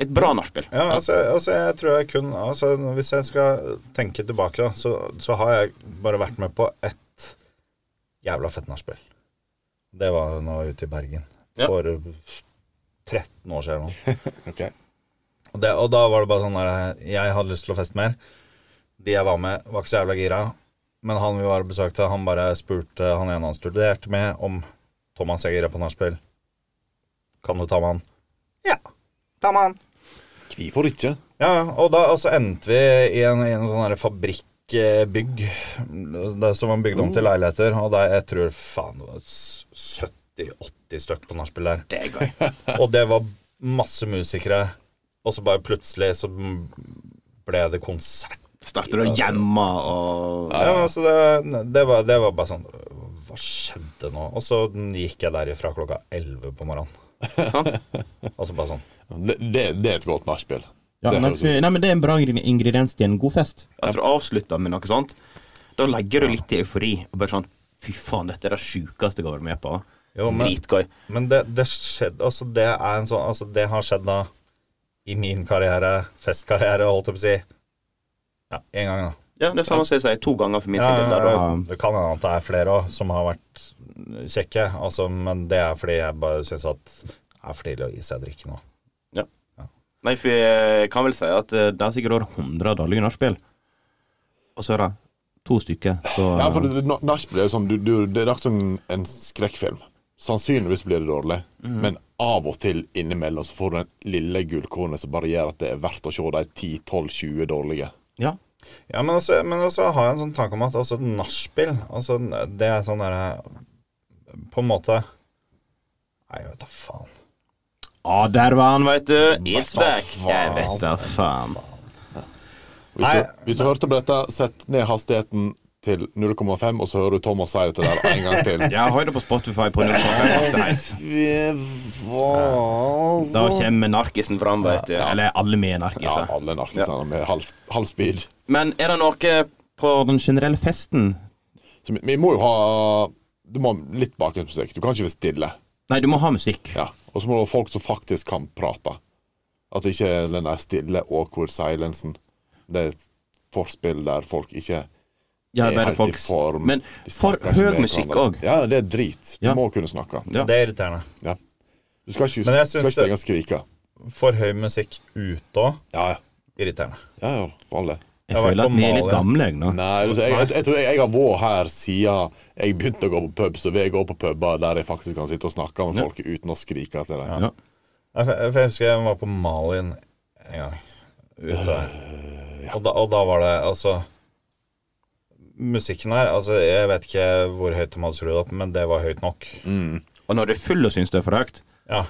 S3: Et bra nachspiel.
S5: Ja, altså, altså jeg tror jeg kun altså, Hvis jeg skal tenke tilbake, da, så, så har jeg bare vært med på ett jævla fett nachspiel. Det var nå ute i Bergen.
S3: Ja.
S5: For uh, 13 år siden. nå.
S4: Ok.
S5: Og, det, og da var det bare sånn der Jeg hadde lyst til å feste mer. De jeg var med, var ikke så jævla gira. Men han vi var og besøkte, han bare spurte han ene han studerte med, om Thomas jeg er gira på nachspiel. Kan du ta med han? Ja. Ta med han.
S4: Hvorfor ikke?
S5: Ja, ja, og da og så endte vi i en, i en sånn her fabrikkbygg det som var bygd om
S3: Oh.
S5: til leiligheter. Og der, jeg tror faen det var s- 70-80 stykk på nachspiel der.
S3: Det er gøy.
S5: (laughs) Og det var masse musikere. Og så bare plutselig så ble det konsert.
S3: Starter å gjemme og
S5: Ja, altså det, det, var, det var bare sånn Hva skjedde nå? Og så gikk jeg derifra klokka 11 på morgenen.
S3: Sant?
S5: Og så bare sånn
S4: Det, det, det er et godt nachspiel.
S10: ja,
S4: Det
S10: nei,
S4: høres ut som-
S10: nei, men Det er en bra ingre- ingrediens til en god fest.
S3: Jeg tror jeg avslutter med noe sånt. Da legger du litt i eufori og bare sånn Fy faen, dette er det sjukeste jeg har vært med på.
S5: Jo, men-
S3: Dritgøy.
S5: Men det, det skjedde Altså, det er en sånn Altså, det har skjedd da i min karriere, festkarriere, holdt jeg på å si. Ja, én gang, da.
S3: Ja, det er samme som jeg sier to ganger for min
S5: Ja,
S3: sin del. der, da.
S5: ja, det kan hende at det er flere òg som har vært kjekke, altså, men det er fordi jeg bare syns at det er for tidlig å gi seg drikke nå.
S3: Nei, for jeg kan vel si at eh, det er sikkert over 100 dårlige nachspiel. Og så er det to stykker, så
S4: Ja, for det- det- na- nachspiel er jo sånn du, du, Det er akkurat som en skrekkfilm. Sannsynligvis blir det dårlig, men av og til innimellom så får du den lille gullkornet som bare gjør at det er verdt å se de 10-12-20 dårlige.
S3: Ja.
S5: Ja, men også, men også har jeg en sånn tanke om at altså, nachspiel altså, Det er sånn derre På en måte Nei, jeg vet da faen.
S3: Ja, der var han, veit du. It's
S4: Hva
S3: back.
S4: faen?
S3: Jeg vet da faen.
S4: Hvis
S5: Nei,
S4: du, hvis du hørte på dette, sett ned hastigheten til 0,5, og så hører du Thomas si dette der en gang (laughs) til.
S3: Jeg har det på Spotify på
S4: (laughs)
S3: Nordkort. Da kommer narkisen fram, veit du. Eller alle vi er
S4: Ja,
S3: narkiser.
S4: alle narkisene med halv, halv speed.
S3: Men er det noe på
S10: Og den generelle festen
S4: Så vi, vi må jo ha Du må ha litt bakgrunnsmusikk. Du kan ikke være stille.
S10: Nei, du må ha musikk.
S4: Ja. Og så må du ha folk som faktisk kan prate. At det ikke er den der stille, awkward silensen. Det er et forspill der folk ikke
S3: Ja,
S4: er
S3: bare
S4: helt
S3: folk
S4: i form.
S3: Men
S4: De
S3: for
S4: snakker ikke
S3: høy
S4: med
S3: musikk
S4: hverandre.
S3: òg.
S4: Ja, det er drit. Du
S10: Ja.
S4: må kunne snakke.
S3: Ja.
S5: Det er irriterende.
S4: Ja. Du skal ikke,
S5: Men jeg
S4: skal ikke
S5: syns det-
S4: stenge og skrike.
S5: For høy musikk ute òg.
S4: Ja, ja.
S5: Irriterende.
S4: Ja, ja, for alle.
S3: Jeg
S5: har vært
S3: føler
S5: på
S3: at vi er litt
S5: Mali.
S3: gamle, jeg, nå.
S4: Nei, altså, jeg, jeg, jeg tror jeg, jeg har vært her siden jeg begynte å gå på pub, så vil jeg gå på puber der jeg faktisk kan sitte og snakke med folk uten å skrike til dem.
S3: Ja.
S5: Nei, for jeg, for jeg husker jeg var på Malin en gang. Ute her.
S4: Øh,
S5: Og, da, og da var det altså Musikken her altså Jeg vet ikke hvor høyt de hadde skrudd opp, men det var høyt nok.
S4: Mm.
S3: Og når du er full og syns det er for høyt,
S5: Ja,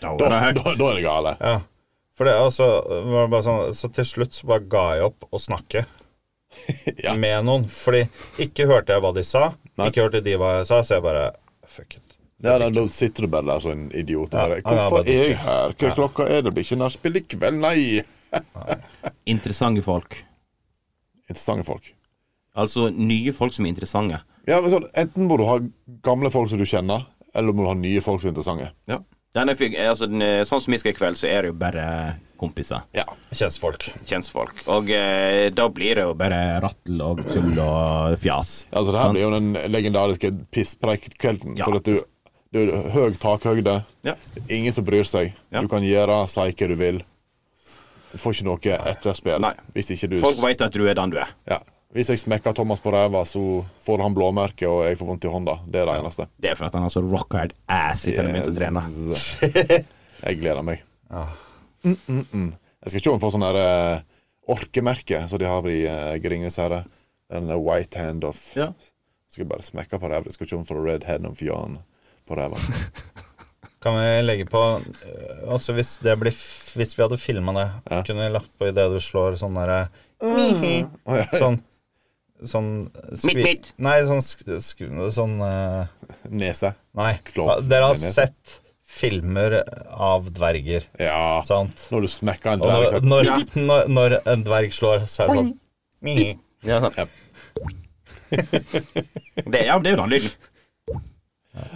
S3: da var
S4: Da,
S3: det høyt.
S4: da, da er det gale.
S5: ja. For det altså var det bare sånn, Så til slutt så bare ga jeg opp å snakke
S4: (laughs) Ja.
S5: med noen. Fordi ikke hørte jeg hva de sa,
S4: Nei.
S5: ikke hørte de hva jeg sa, så jeg bare Fuck it.
S4: Ja, da, da sitter du bare der som en idiot.
S5: Ja,
S4: Bare,
S5: ja, bare
S4: Hvorfor er jeg
S5: drikke.
S4: her? Hva klokka er det? Blir ikke nachspiel i kveld? Nei!
S3: Interessante folk.
S4: Interessante folk.
S3: Altså nye folk som er interessante.
S4: Ja, men sånn, Enten må du ha gamle folk som du kjenner, eller må du ha nye folk som er interessante.
S3: Ja.
S6: Denne fyr, altså, den, eh, sånn som vi skal i kveld, så er det jo bare
S3: Kompiser.
S4: Ja.
S5: Kjentfolk.
S6: kjentfolk. Og eh, da blir det jo bare
S3: Bare rattel og tull og fjas.
S4: Altså, det her
S3: Sant.
S4: blir jo den legendariske pisspreik-kvelden. For at du, du er høy takhøyde,
S3: Ja.
S4: ingen som bryr seg.
S3: Ja.
S4: Du kan gjøre, si hva du vil. Du får ikke noe etterspill.
S6: Nei.
S4: Hvis ikke du
S6: Folk veit at du er den du er.
S4: ja. Hvis jeg smekker Thomas på ræva, så får han blåmerke, og jeg får vondt i hånda. Det er det eneste.
S6: Det er for at han har så rock-hard ass etter at han begynte å trene.
S4: Yes. Jeg gleder meg. Mm, mm, mm. Jeg skal se om jeg får sånn der eh, orkemerke som de har i uh, Gringenes herre. Den eh, white hand of
S3: Ja.
S4: Skal bare smekke på ræva. Jeg Skal se om jeg får red hand of yarn på
S6: (laughs)
S4: ræva.
S5: Kan vi legge på eh, Altså Hvis, det blir, f- hvis vi hadde filma det,
S4: Ja.
S5: kunne vi lagt på idet du slår sånn derre
S4: Å, ja.
S5: Sånn Sånn skvi-
S6: Mitt, mitt.
S5: Nei, sånn sk, sk, Sånn eh,
S4: Nese.
S5: Nei.
S4: Klov.
S5: Dere har
S4: Nese.
S5: sett filmer av dverger,
S4: Ja.
S5: sant?
S4: Når du smekker en
S5: Og når,
S4: dverg
S5: når, når, når en dverg slår, så er det sånn «Mii».
S6: Ja, sant.
S4: Ja.
S6: Det, ja, det er jo den lyden.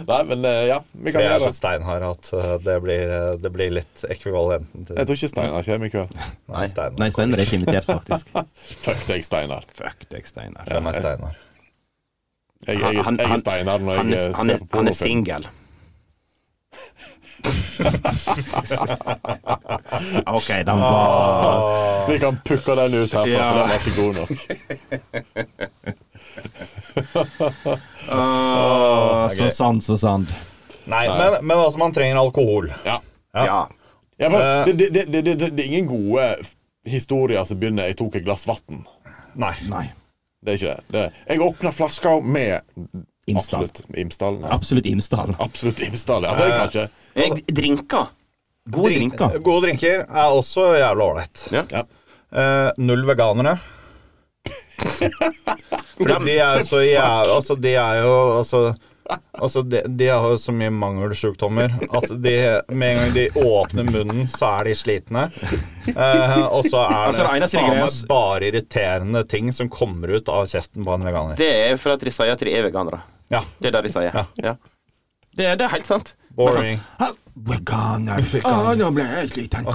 S4: Nei, men eh, ja. Vi kan
S5: Jeg er
S4: gjøre
S5: så
S4: det.
S5: steinhard at eh, det blir, eh, det blir litt ekvivalenten til
S4: Jeg tror ikke Steinar kommer i kveld.
S6: (laughs)
S5: Nei, Steinar.
S3: Nei, Steinar er ikke invitert, faktisk.
S4: Fuck deg, Steinar.
S6: Fuck deg, Steinar.
S5: Hvem er Steinar?
S4: Jeg, jeg,
S6: Han-
S4: jeg,
S6: han-
S4: er Steinar når
S6: Han
S4: jeg
S6: er,
S4: eh,
S6: han
S4: ser
S6: er,
S4: på
S6: han er
S4: pornofilm.
S6: singel.
S4: (laughs)
S6: OK, den var
S4: Vi kan pukke den ut herfra,
S6: Ja.
S4: for den var ikke god nok. Ah,
S3: Så sant, så sant.
S5: Nei, men, men altså, man trenger alkohol.
S4: Ja.
S6: Ja.
S4: Ja, for
S5: Eh.
S4: det, det, det, det, det, det er ingen gode f- historier som begynner 'jeg tok et glass vann'.
S5: Nei.
S4: Det er ikke det. det jeg åpna flaska med
S3: Imsdal.
S4: Absolutt Imsdal. Ja.
S3: Absolutt Imsdal.
S4: Absolutt Imsdal, ja. Det er kanskje
S6: Jeg drinker. Gode
S5: Drink-
S6: drinker.
S5: Gode drinker er også jævla ålreit.
S6: Ja.
S4: Ja.
S5: Eh, null veganere. Fordi de er jo så jævla Altså, de er jo Altså, altså de, de har jo så mye mangelsjukdommer at de, med en gang de åpner munnen, så er de slitne. Eh, og så er
S6: Altså, det
S5: det
S6: eneste
S5: faen
S6: greia
S5: meg
S6: er-
S5: bare irriterende ting som kommer ut av kjeften på en veganer.
S6: Det er for at de sier at de er veganere.
S5: Ja,
S6: Det er det de sier. Ja. Det, er- det er helt sant.
S5: boring.
S1: Veganer, veganer. nå ble jeg sliten.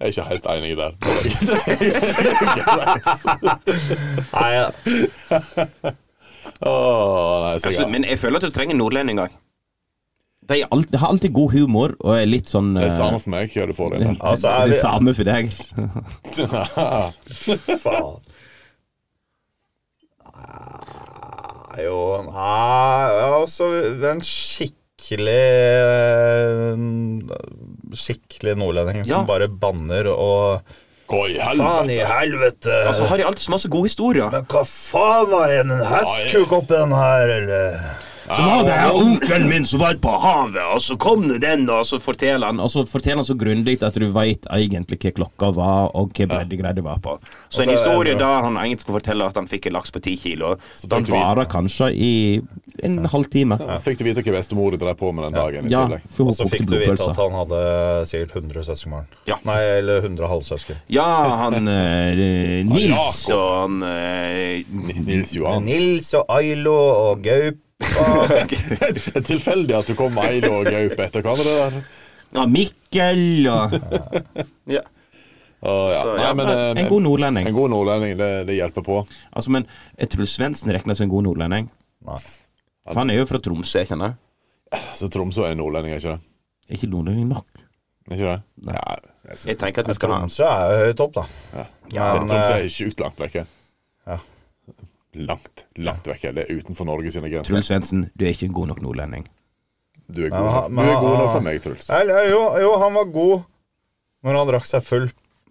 S4: Jeg er ikke helt enig der.
S5: Nei, ja.
S4: Åh, nei, så
S6: Altså,
S4: jeg,
S6: men jeg føler at du trenger nordlendinger.
S3: De, er alt, de har alltid god humor og er litt sånn
S4: det er
S3: eh,
S4: samme for meg hva du får inn der.
S5: altså
S3: det
S5: er vi
S3: samme for deg.
S5: Faen. Nei, Ah, jo Nei, altså En skikkelig eh, Skikkelig nordlending som
S6: Ja.
S5: bare banner og
S4: (laughs) Hva i
S5: Faen
S4: helvete?
S5: i helvete!
S6: Og så har de alltid så masse gode historier.
S5: Men hva faen er en en hestkuk oppi den her, eller?
S6: Så var det onkelen min som var på havet, og så kom nå den, og så forteller han
S3: Og så forteller han så grundig at du veit egentlig hva klokka var, og hva breddegrad det var på.
S6: Så en
S5: Og så er
S6: historie
S5: det-
S6: der han egentlig skulle fortelle at han fikk en laks på ti kilo.
S4: Fikk
S3: Den
S4: du vite-
S3: varer kanskje i en halvtime.
S4: Fikk du vite hva bestemor drev på med den dagen? i
S3: Ja,
S4: tillegg?
S3: for
S5: Og
S3: hun
S5: så
S3: kokte
S5: fikk du vite at
S3: blodpølse.
S5: han hadde sikkert 100 søskenbarn.
S6: Ja.
S5: Nei, eller 100 halvsøsken.
S6: Ja, han eh, Nils
S4: Ja,
S6: og han eh,
S4: Nils
S5: (laughs)
S4: Johan.
S5: Nils og Ailo og Gaupa
S4: Det er tilfeldig at du kom med Eide og Gaup etter hverandre der.
S3: Ja, Mikkel og
S6: ja.
S4: Åh, ja.
S6: Så,
S4: Nei,
S6: ja,
S4: men, eh,
S3: En god nordlending.
S4: en god nordlending, det, det hjelper på.
S3: Altså, men jeg tror Svendsen regnes som en god nordlending.
S5: Nei.
S3: For han er jo fra Troms.
S6: Så jeg kjenner
S4: Så Tromsø er en nordlending, er ikke det?
S3: Er ikke nordlending nok?
S4: Ikke det? Ja, jeg
S6: Jeg
S4: synes
S6: tenker at vi skal ha
S5: Tromsø er jo høyt opp, da.
S4: ja, det
S5: men,
S4: Tromsø
S5: eh,
S4: er sjukt langt vekke.
S5: Ja.
S4: Langt, langt vekke. Det er utenfor Norge sine grenser.
S3: Truls Svendsen, du er ikke en god nok nordlending.
S4: Du er
S5: Ja, men
S4: god,
S5: han-
S4: nok- du er god nok
S5: han-
S4: for meg, Truls.
S5: Nei, nei, jo, jo, han var god når han drakk seg full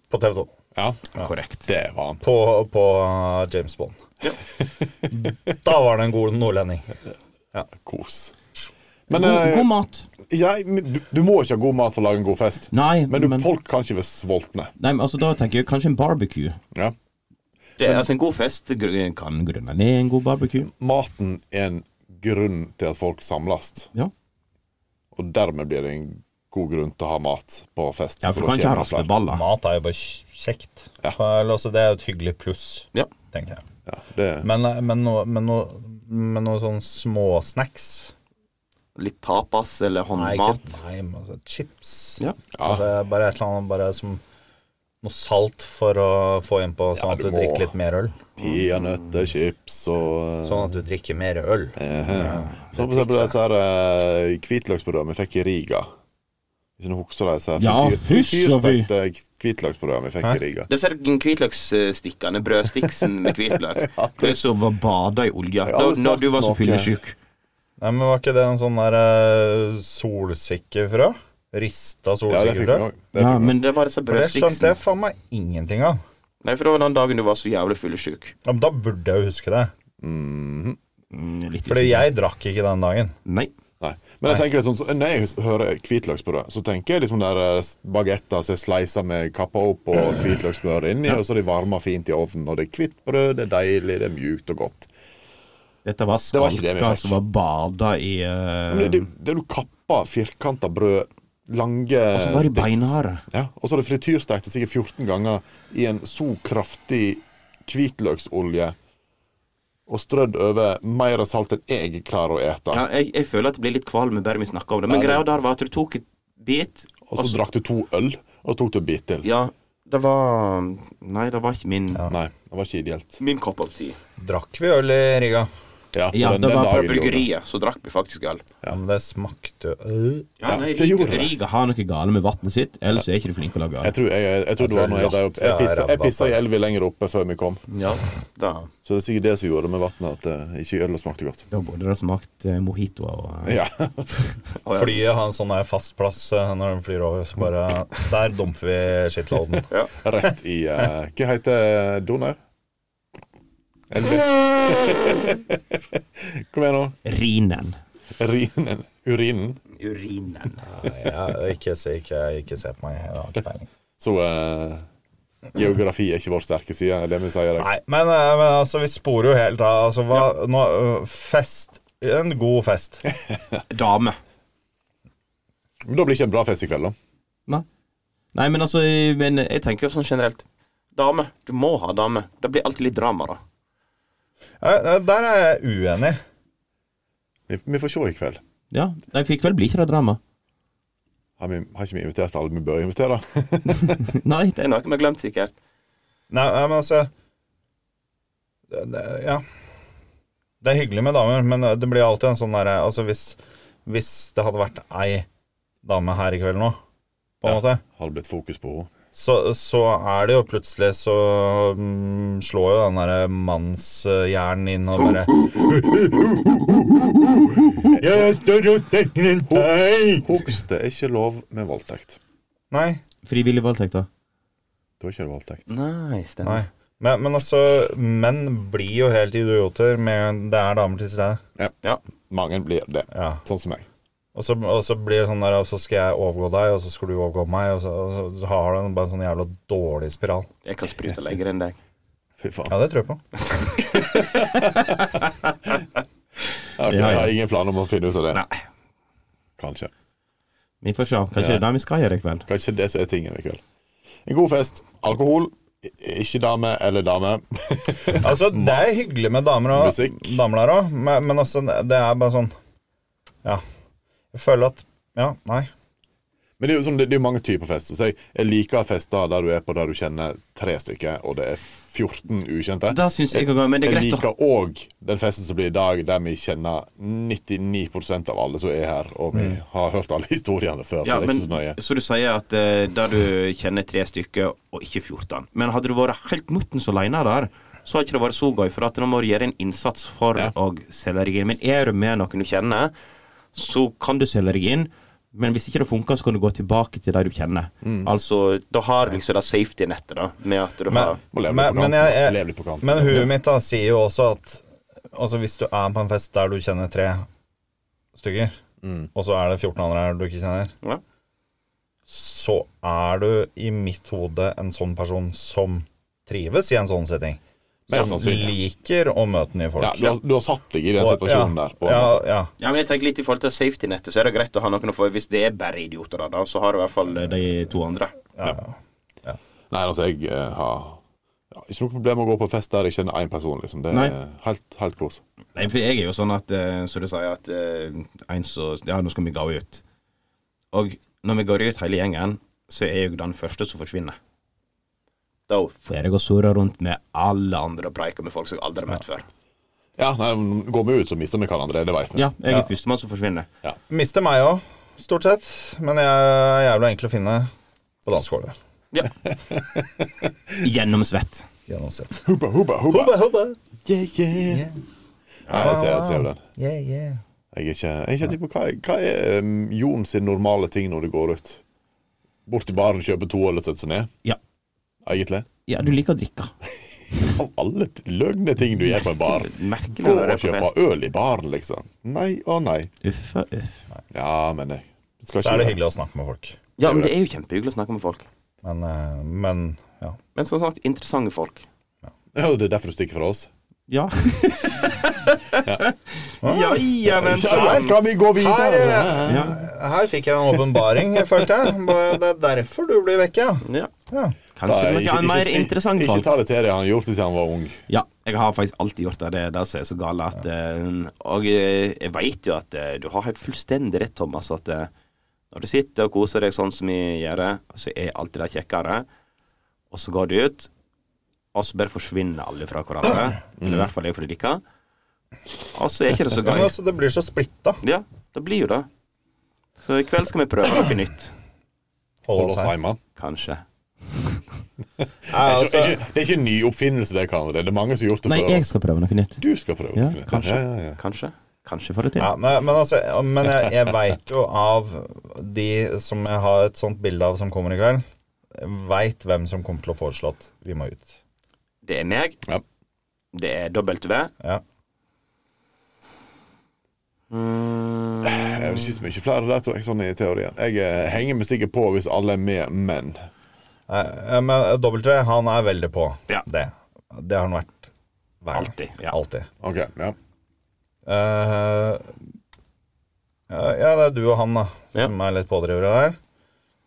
S5: på TV 2.
S4: Ja,
S5: Korrekt.
S4: det var han.
S5: På, på uh, James Bond. (laughs) da var han en god nordlending.
S4: Kos. Men
S3: god,
S4: eh,
S3: god mat.
S4: ja, men du, du må ikke ha god mat for å lage en god fest.
S3: Nei,
S4: Men, du,
S3: men-
S4: folk kan ikke være sultne.
S3: Nei, men altså Da tenker jeg kanskje en barbecue.
S4: Ja.
S6: det, er altså En god fest gr- kan
S3: Kan grunne ned en god barbecue.
S4: Maten er en grunn til at folk samles,
S3: Ja,
S4: og dermed blir det en god grunn til å ha mat på fest.
S3: ja for du kan ikke ha raspeballer.
S5: Mat er jo bare kjekt. Eller, altså, det er jo et hyggelig pluss,
S6: Ja.
S5: tenker jeg.
S4: Ja, det,
S5: Men, eh, men noen men noe- men noe sånn småsnacks
S6: Litt tapas eller
S5: Nei,
S6: håndmat.
S5: ikke nei, men altså, chips.
S6: Ja.
S5: Altså, bare et eller annet bare som noe salt for å få inn på, sånn
S4: Ja,
S5: at
S4: du
S5: du
S4: må-
S5: drikker litt mer øl.
S4: Peanøtter, chips og eh,
S5: Sånn at du drikker mer øl.
S4: Så for eksempel disse her eh, hvitløksbrødene vi fikk i Riga. Hvis du husker disse her
S3: Ja,
S4: frityr-
S3: fysj, og fy.
S4: frityrstekte hvitløksbrødene vi fikk i Riga.
S6: Disse hvitløksstikkene, brødstiksen med hvitløk, det som var bada i olje
S4: har aldri
S6: da når du var så
S4: smakt noe.
S6: fyllesyk.
S5: Nei, men Var ikke det en sånn der eh, solsikkefrø?
S4: Ja,
S5: Rista
S4: det fikk vi
S5: solsikkefrø?
S4: òg.
S3: Ja, men
S6: Det var disse
S5: For det skjønte
S6: brødstiksen.
S5: jeg faen meg ingenting av.
S6: Nei, for det var den dagen du var så jævlig fyllesyk.
S5: Ja, men da burde jeg jo huske det.
S3: mm, litt
S5: Fordi
S3: usikker.
S5: jeg drakk ikke den dagen.
S6: Nei.
S4: Nei. Men jeg tenker liksom, så- når jeg hører hvitløksbrød, så tenker jeg liksom der bagetter som er sleisa med kappa
S3: (clears throat)
S4: opp og hvitløksmør inni, og så er de varma fint i ovnen, og det er hvitt brød, det er deilig, det er mjukt og godt.
S3: Dette var
S4: Det var ikke det vi
S3: skalka
S4: fikk.
S3: som var bada i eh,
S4: Men det, det, det er jo kappa, firkanta brød, lange
S3: Og så var de
S4: sticks.
S3: beinharde.
S4: Ja, og så er det frityrstekt sikkert 14 ganger i en så kraftig hvitløksolje og strødd over mer salt enn jeg klarer å ete.
S6: Ja, jeg, jeg føler at det blir litt kvalm bare vi snakker om det. Men greia der var at du tok et bit,
S4: Og så drakk du to øl, og så tok du en bit til.
S6: Ja, det var Nei, det var ikke min
S4: Nei, det var ikke ideelt.
S6: Min kopp av ti.
S5: Drakk vi øl i Riga?
S4: Ja,
S3: Ja,
S4: den-
S3: det
S4: den
S3: var
S4: dagen
S6: Fra
S4: gjorde det.
S6: bryggeriet så drakk vi faktisk øl.
S5: Ja, men det smakte jo Øh.
S6: Ja, nei,
S4: det gjorde
S6: Riga-
S4: det.
S3: Riga har noe gale med vannet sitt, ellers er ikke de flinke til å lage
S4: Jeg
S3: øl.
S4: tror, jeg, jeg, jeg tror det var når jeg drev opp Jeg
S5: Ja, jeg
S4: pissa- Jeg
S5: ramlet
S4: pissa i
S5: der.
S4: elva lenger oppe før vi kom.
S6: Riga. Ja, da.
S4: Så det er sikkert det som gjorde det med vannet, at eh, ikke ølet smakte godt.
S3: Da burde det ha smakt eh, mojito og eh,
S4: Ja, (laughs)
S5: Flyet har en sånn der fast plass eh, når de flyr over, så bare
S4: (laughs)
S5: Der dumper vi skittloaden.
S4: Rett i eh, Hva heter Donau? Elva. (laughs) Kom igjen nå.
S3: Rinen.
S4: Urinen. Urinen.
S6: Urinen.
S5: Jeg- Ikke, se- ikke, ikke se på meg, jeg har ikke peiling.
S4: Så eh, geografi er ikke vår sterke side, er det vi sier.
S5: Nei, men, eh, men altså, vi sporer jo helt av. Altså, hva nå, øh, Fest. En
S4: (laughs)
S5: god fest. Øh,
S6: Dame.
S4: Men da blir det ikke en bra fest i kveld, da.
S3: Nei. Nei, men altså eh, men, eh,
S6: Jeg tenker jo sånn generelt. Dame. Du må ha dame. Det blir alltid litt drama, da.
S5: Eh, eh, Der er jeg uenig.
S4: Vi, vi får se i kveld.
S3: Ja, nei, for i kveld blir ikke det
S4: (laughs)
S3: drama.
S4: Har, vi, har ikke vi invitert alle vi bør invitere? (laughs)
S3: Nei,
S6: Det er noe vi har glemt, sikkert.
S5: Nei, nei, men altså det, det, Ja. Det er hyggelig med damer, men det blir alltid en sånn derre Altså, hvis, hvis det hadde vært ei dame her i kveld nå, på en
S4: Ja.
S5: måte,
S4: Har det blitt fokus på henne?
S5: så, så er det jo plutselig Så mm, slår jo den derre mannshjernen inn og bare Jeg er større og sterkere enn deg!
S4: Hoks, det er ikke lov med voldtekt.
S5: Nei.
S3: frivillig voldtekt, da.
S4: Da er ikke det voldtekt.
S6: Nei,
S5: nei. Men, men altså, menn blir jo helt idioter med det er damer til stede.
S4: Mange blir det.
S5: Ja.
S4: Sånn som meg.
S5: Og så, og så blir det sånn der, og så skal jeg overgå deg, og så skal du overgå meg, og så, og så, så har du en- bare en sånn jævla dårlig spiral.
S6: Jeg kan sprute lenger enn deg.
S4: Fy faen.
S5: Ja, det tror jeg på.
S4: Ja, ok, Jeg har ingen planer om å finne ut av det.
S6: Nei.
S4: Kanskje.
S3: Vi får se. Kanskje det er det vi skal gjøre i kveld.
S4: Kanskje det som er tingen i kveld. En god fest. Alkohol. I- Ikke dame eller dame.
S5: (laughs) Altså, det er hyggelig med damer, og,
S4: Musikk.
S5: damer der òg, men, men altså, det er bare sånn Ja. Jeg føler at Ja, nei.
S4: Men det er jo sånn, det, det er jo mange typer fester. Så jeg, jeg liker fester der du er på der du kjenner tre stykker, og det er 14 ukjente.
S3: Da syns jeg òg Men det er
S4: Jeg
S3: greit, da.
S4: liker òg den festen som blir i dag, der vi kjenner 99 av alle som er her, og vi har hørt alle (laughs) historiene før. så det
S6: Ja,
S4: er
S6: men,
S4: ikke så nøye.
S6: så du sier at eh, der du kjenner tre stykker, og ikke 14. Men hadde du vært helt muttens aleine der, så hadde ikke det vært så gøy, for at nå må du gjøre en innsats for å selge deg inn. Men er du med noen du kjenner, så kan du selge deg inn. Men hvis ikke det funker, så kan du gå tilbake til de du kjenner.
S4: Mm.
S6: Altså, da har du liksom det safety-nettet, da, med at du har
S4: Må leve litt
S5: men,
S4: på
S5: men,
S4: kanten.
S5: jeg, jeg,
S4: Leve litt på kanten.
S5: men huet mitt da sier jo også at altså hvis du er på en fest der du kjenner tre stykker,
S4: Mm.
S5: og så er det 14 andre her du ikke kjenner,
S6: Ja.
S5: så er du i mitt hode en sånn person som trives i en sånn setting.
S4: Mest
S5: Som
S4: sannsynlig.
S5: liker å møte nye folk.
S4: Ja, du, har, du har satt deg i den
S5: Og-
S4: situasjonen
S5: ja,
S4: der. På, en
S5: ja,
S4: måte.
S5: ja.
S6: Ja, men jeg tenker litt i forhold til safety-nettet, så er det greit å ha noen å få Hvis det er bare idioter, da, da, så har du i hvert fall eh, de to andre.
S4: Nei, altså, jeg eh, har ja, ikke noe problem med å gå på fest der jeg kjenner én person. Liksom. Det er
S6: Nei.
S4: eh, helt, helt kos.
S6: Nei, for jeg er jo sånn at eh, Så du sier at eh, en så, Ja, nå skal vi gå ut Og når vi går ut hele gjengen Så er jeg den første som forsvinner Da får jeg gå surre rundt med alle andre Og preike med folk som jeg aldri har møtt før
S4: Ja, nei, Går vi ut, så mister vi hverandre. Det vet vi.
S6: Ja, jeg er førstemann som forsvinner
S5: Mister meg òg, stort sett. Men jeg er jævla enkel å finne på dansegulvet.
S6: Gjennom svett
S4: (laughs)
S5: Gjennomsett.
S4: Hubba, hubba, hubba. Yeah, yeah. Nei, jeg ser, jeg ser jo den.
S5: Yeah, yeah.
S4: Jeg er ikke, jeg er ikke helt sikker på hva, hva er um, Jon sin normale ting når det går ut? Bort til baren, kjøpe to øl og sette seg ned?
S3: Ja.
S4: Egentlig?
S3: Ja, du liker å drikke.
S4: Av alle t- løgne ting du gjør på en
S6: (laughs)
S4: bar.
S6: Merkelig
S4: Gå
S6: når det
S4: og
S6: er på
S4: kjøpe
S6: fest
S4: øl i baren, liksom. Nei og nei.
S3: Uff og uff.
S4: Ja, men jeg skal
S5: Så er det
S4: ikke
S5: hyggelig å snakke med folk.
S6: Ja, men det er jo kjempehyggelig å snakke med folk
S5: Men, eh, men ja.
S6: Men som sagt, interessante folk
S4: Ja, det er derfor du stikker fra oss.
S3: Ja.
S6: Ja, ja, men
S4: Ja, ja, skal vi gå videre?
S3: ja.
S5: Her fikk jeg en åpenbaring, følte jeg. Bare Det er derfor du blir vekk, ja.
S6: ja.
S5: ja.
S4: Nei,
S6: Kanskje noe mer
S4: ikke-
S6: interessant
S4: Ikke
S3: sånn.
S6: folk
S4: ta det til deg han har gjort det siden han var ung.
S6: Ja, jeg har faktisk alltid gjort det. Det er det som er så gale. At, eh, og eh, jeg veit jo at eh, du har helt fullstendig rett, Thomas. At eh, når du sitter og koser deg sånn som vi gjør, det, så er alltid det kjekkere. Og så går du ut, og så bare forsvinner alle fra hverandre.
S5: (clears throat)
S6: Eller i hvert fall jeg fordi dere. Og så er ikke det så
S5: Mm. Ja, Men
S6: gøy.
S5: altså, det blir så splitta.
S6: Ja, det blir jo det. Så i kveld skal vi prøve noe nytt.
S4: Hold oss hjemme.
S6: Kanskje.
S5: Ja,
S4: Det
S5: altså,
S4: er ikke- det er ikke en ny oppfinnelse, det, kan Det er mange som har gjort det
S3: Nei,
S4: før.
S3: jeg
S4: oss.
S3: skal prøve noe nytt.
S4: Du skal prøve.
S3: Ja,
S4: Knut.
S3: kanskje.
S4: Ja, ja, ja.
S6: Kanskje. Kanskje får det til.
S5: ja, men, men altså Men jeg, jeg veit jo av de som jeg har et sånt bilde av som kommer i kveld, veit hvem som kommer til å foreslå at vi må ut.
S6: Det er meg.
S4: Ja.
S6: Det er W.
S5: Ja.
S4: Jeg vil ikke så Eh, mye flere der, tror jeg, sånn i teorien. Jeg eh, henger meg sikkert på hvis alle er med, men
S5: Eh, eh, Men W, han er veldig på
S6: Ja.
S5: det. Det har han vært hver gang.
S6: Alltid, ja.
S5: Alltid.
S4: OK. Ja.
S5: Eh, ja, ja, det er du og han da som er litt pådrivere der.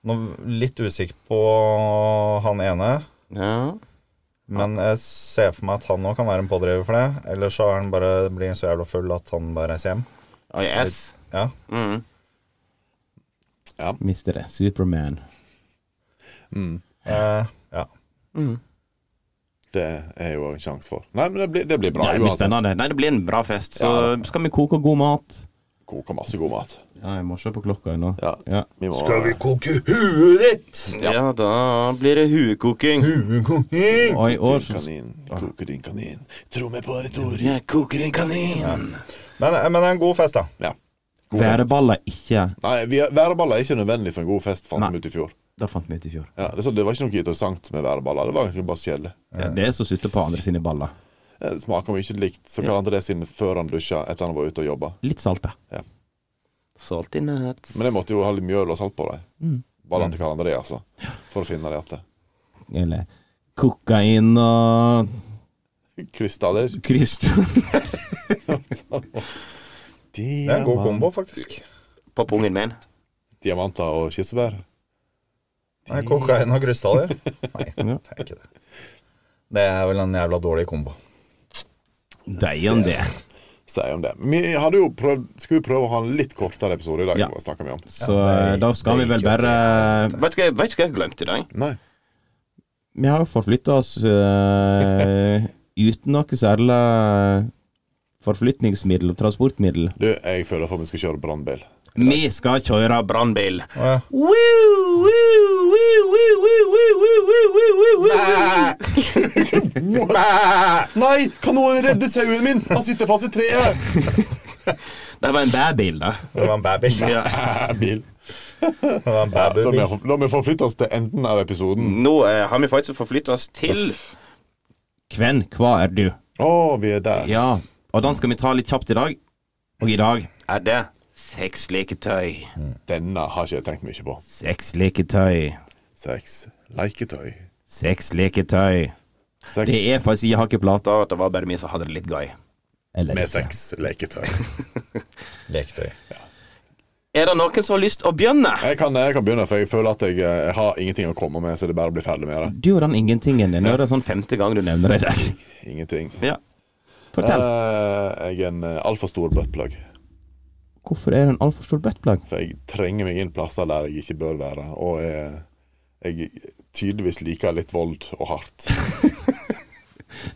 S5: Nå litt usikker på han ene,
S6: Ja.
S5: men jeg ser for meg at han òg kan være en pådriver for det. Eller så er han bare, blir han så jævla full at han bare reiser hjem.
S6: Og jeg er S.
S5: Ja.
S6: Mm.
S3: Mister det. Superman.
S5: Eh, ja.
S4: Det er jo en sjanse for. Nei, men det blir, det blir bra.
S6: Nei, det blir spennende. Nei, det blir en bra fest. Så skal vi koke god mat.
S4: Koker masse god mat.
S3: Ja, jeg må se på klokka nå.
S4: Ja.
S3: Ja.
S4: Vi må,
S11: koke huet ditt?
S6: Ja. da blir det huekoking.
S3: Og i år
S4: Din
S3: så
S4: kanin, koker din kanin. Tro meg på et ord, jeg koker din kanin.
S5: Men, eh, men det er en god fest, da.
S4: Ja. God fest.
S3: Væreballer ikke
S4: Nei, vi- væreballer er ikke nødvendig for en god fest, fant vi ut i fjor.
S3: Det fant vi ut i fjor.
S4: Ja, det, er sånn, det var ikke noe interessant med væreballer. Det var egentlig bare kjedelig.
S3: Ja, det er som å sutte på andre sine baller.
S4: Det smaker mye likt. Så kalte han det sin før han dusja, etter han var ute og jobba.
S3: Litt salte.
S6: Salt in nuts.
S4: Men jeg måtte jo ha litt mjøl og salt på dem. Ballene til Karl André, altså. For å finne det igjen.
S3: Eller kokain og
S4: Krystaller.
S3: kryst. (laughs)
S5: Det er en god kombo, faktisk.
S6: På pungen min.
S4: Diamanter og kirsebær.
S5: Nei, kokain og (laughs) krystaller. Nei, det er ikke det. Det er vel en jævla dårlig kombo.
S3: Deigen det.
S4: sier om det. Vi hadde jo prøvd, skulle jo prøve å ha en litt kortere episode i dag.
S3: Ja.
S4: Ja. snakket vi om.
S3: Så eh, da skal vi vel bare
S6: Vet du hva jeg- vet du hva jeg glemte i dag?
S4: Nei.
S3: Vi har jo forflytta oss (laughs) eh, uten noe særlig forflytningsmiddel og transportmiddel.
S4: Du, jeg føler for at vi skal kjøre brannbil.
S3: Vi skal kjøre brannbil.
S5: Å, ja.
S4: Nei, kan noen redde sauen min? Han sitter fast i treet!
S6: Det var en bæbil, da.
S5: Det var en baby.
S6: Ja.
S4: Æ, Bil.
S5: Det var en baby.
S4: Så vi har- la meg forflytte oss til enden av episoden.
S6: Nå eh, har vi faktisk forflytta oss til
S3: Hvem, hva er du?
S4: Å, vi er der.
S3: Ja, og den skal vi ta litt kjapt i dag. Og i dag
S6: Er det sexleketøy?
S4: Denne har ikke jeg tenkt mye på.
S3: sexleketøy.
S4: Sex. Leketøy.
S3: Sexleketøy.
S4: Sex
S3: Det er faktisk jeg har ikke plata.
S6: Da at det var bare vi som hadde det litt gøy.
S3: Eller
S4: med
S3: ikke.
S4: sex. Leketøy.
S5: Leketøy.
S6: Er det noen som har lyst å begynne?
S4: Jeg kan, jeg kan begynne, for jeg føler at jeg, eh, har ingenting å komme med, så det er bare å bli ferdig med det.
S3: Du og den ingentingen din. Nå er det sånn
S6: Femte gang du nevner
S3: femner i dag. (laughs)
S4: Ingenting.
S6: Ja.
S3: Fortell.
S4: Eh, jeg er en eh, altfor stor buttplug,
S3: Hvorfor er det en altfor stor buttplug?
S4: for jeg trenger meg inn plasser der jeg ikke bør være, og jeg, jeg tydeligvis liker litt vold og
S3: (laughs)
S4: hardt.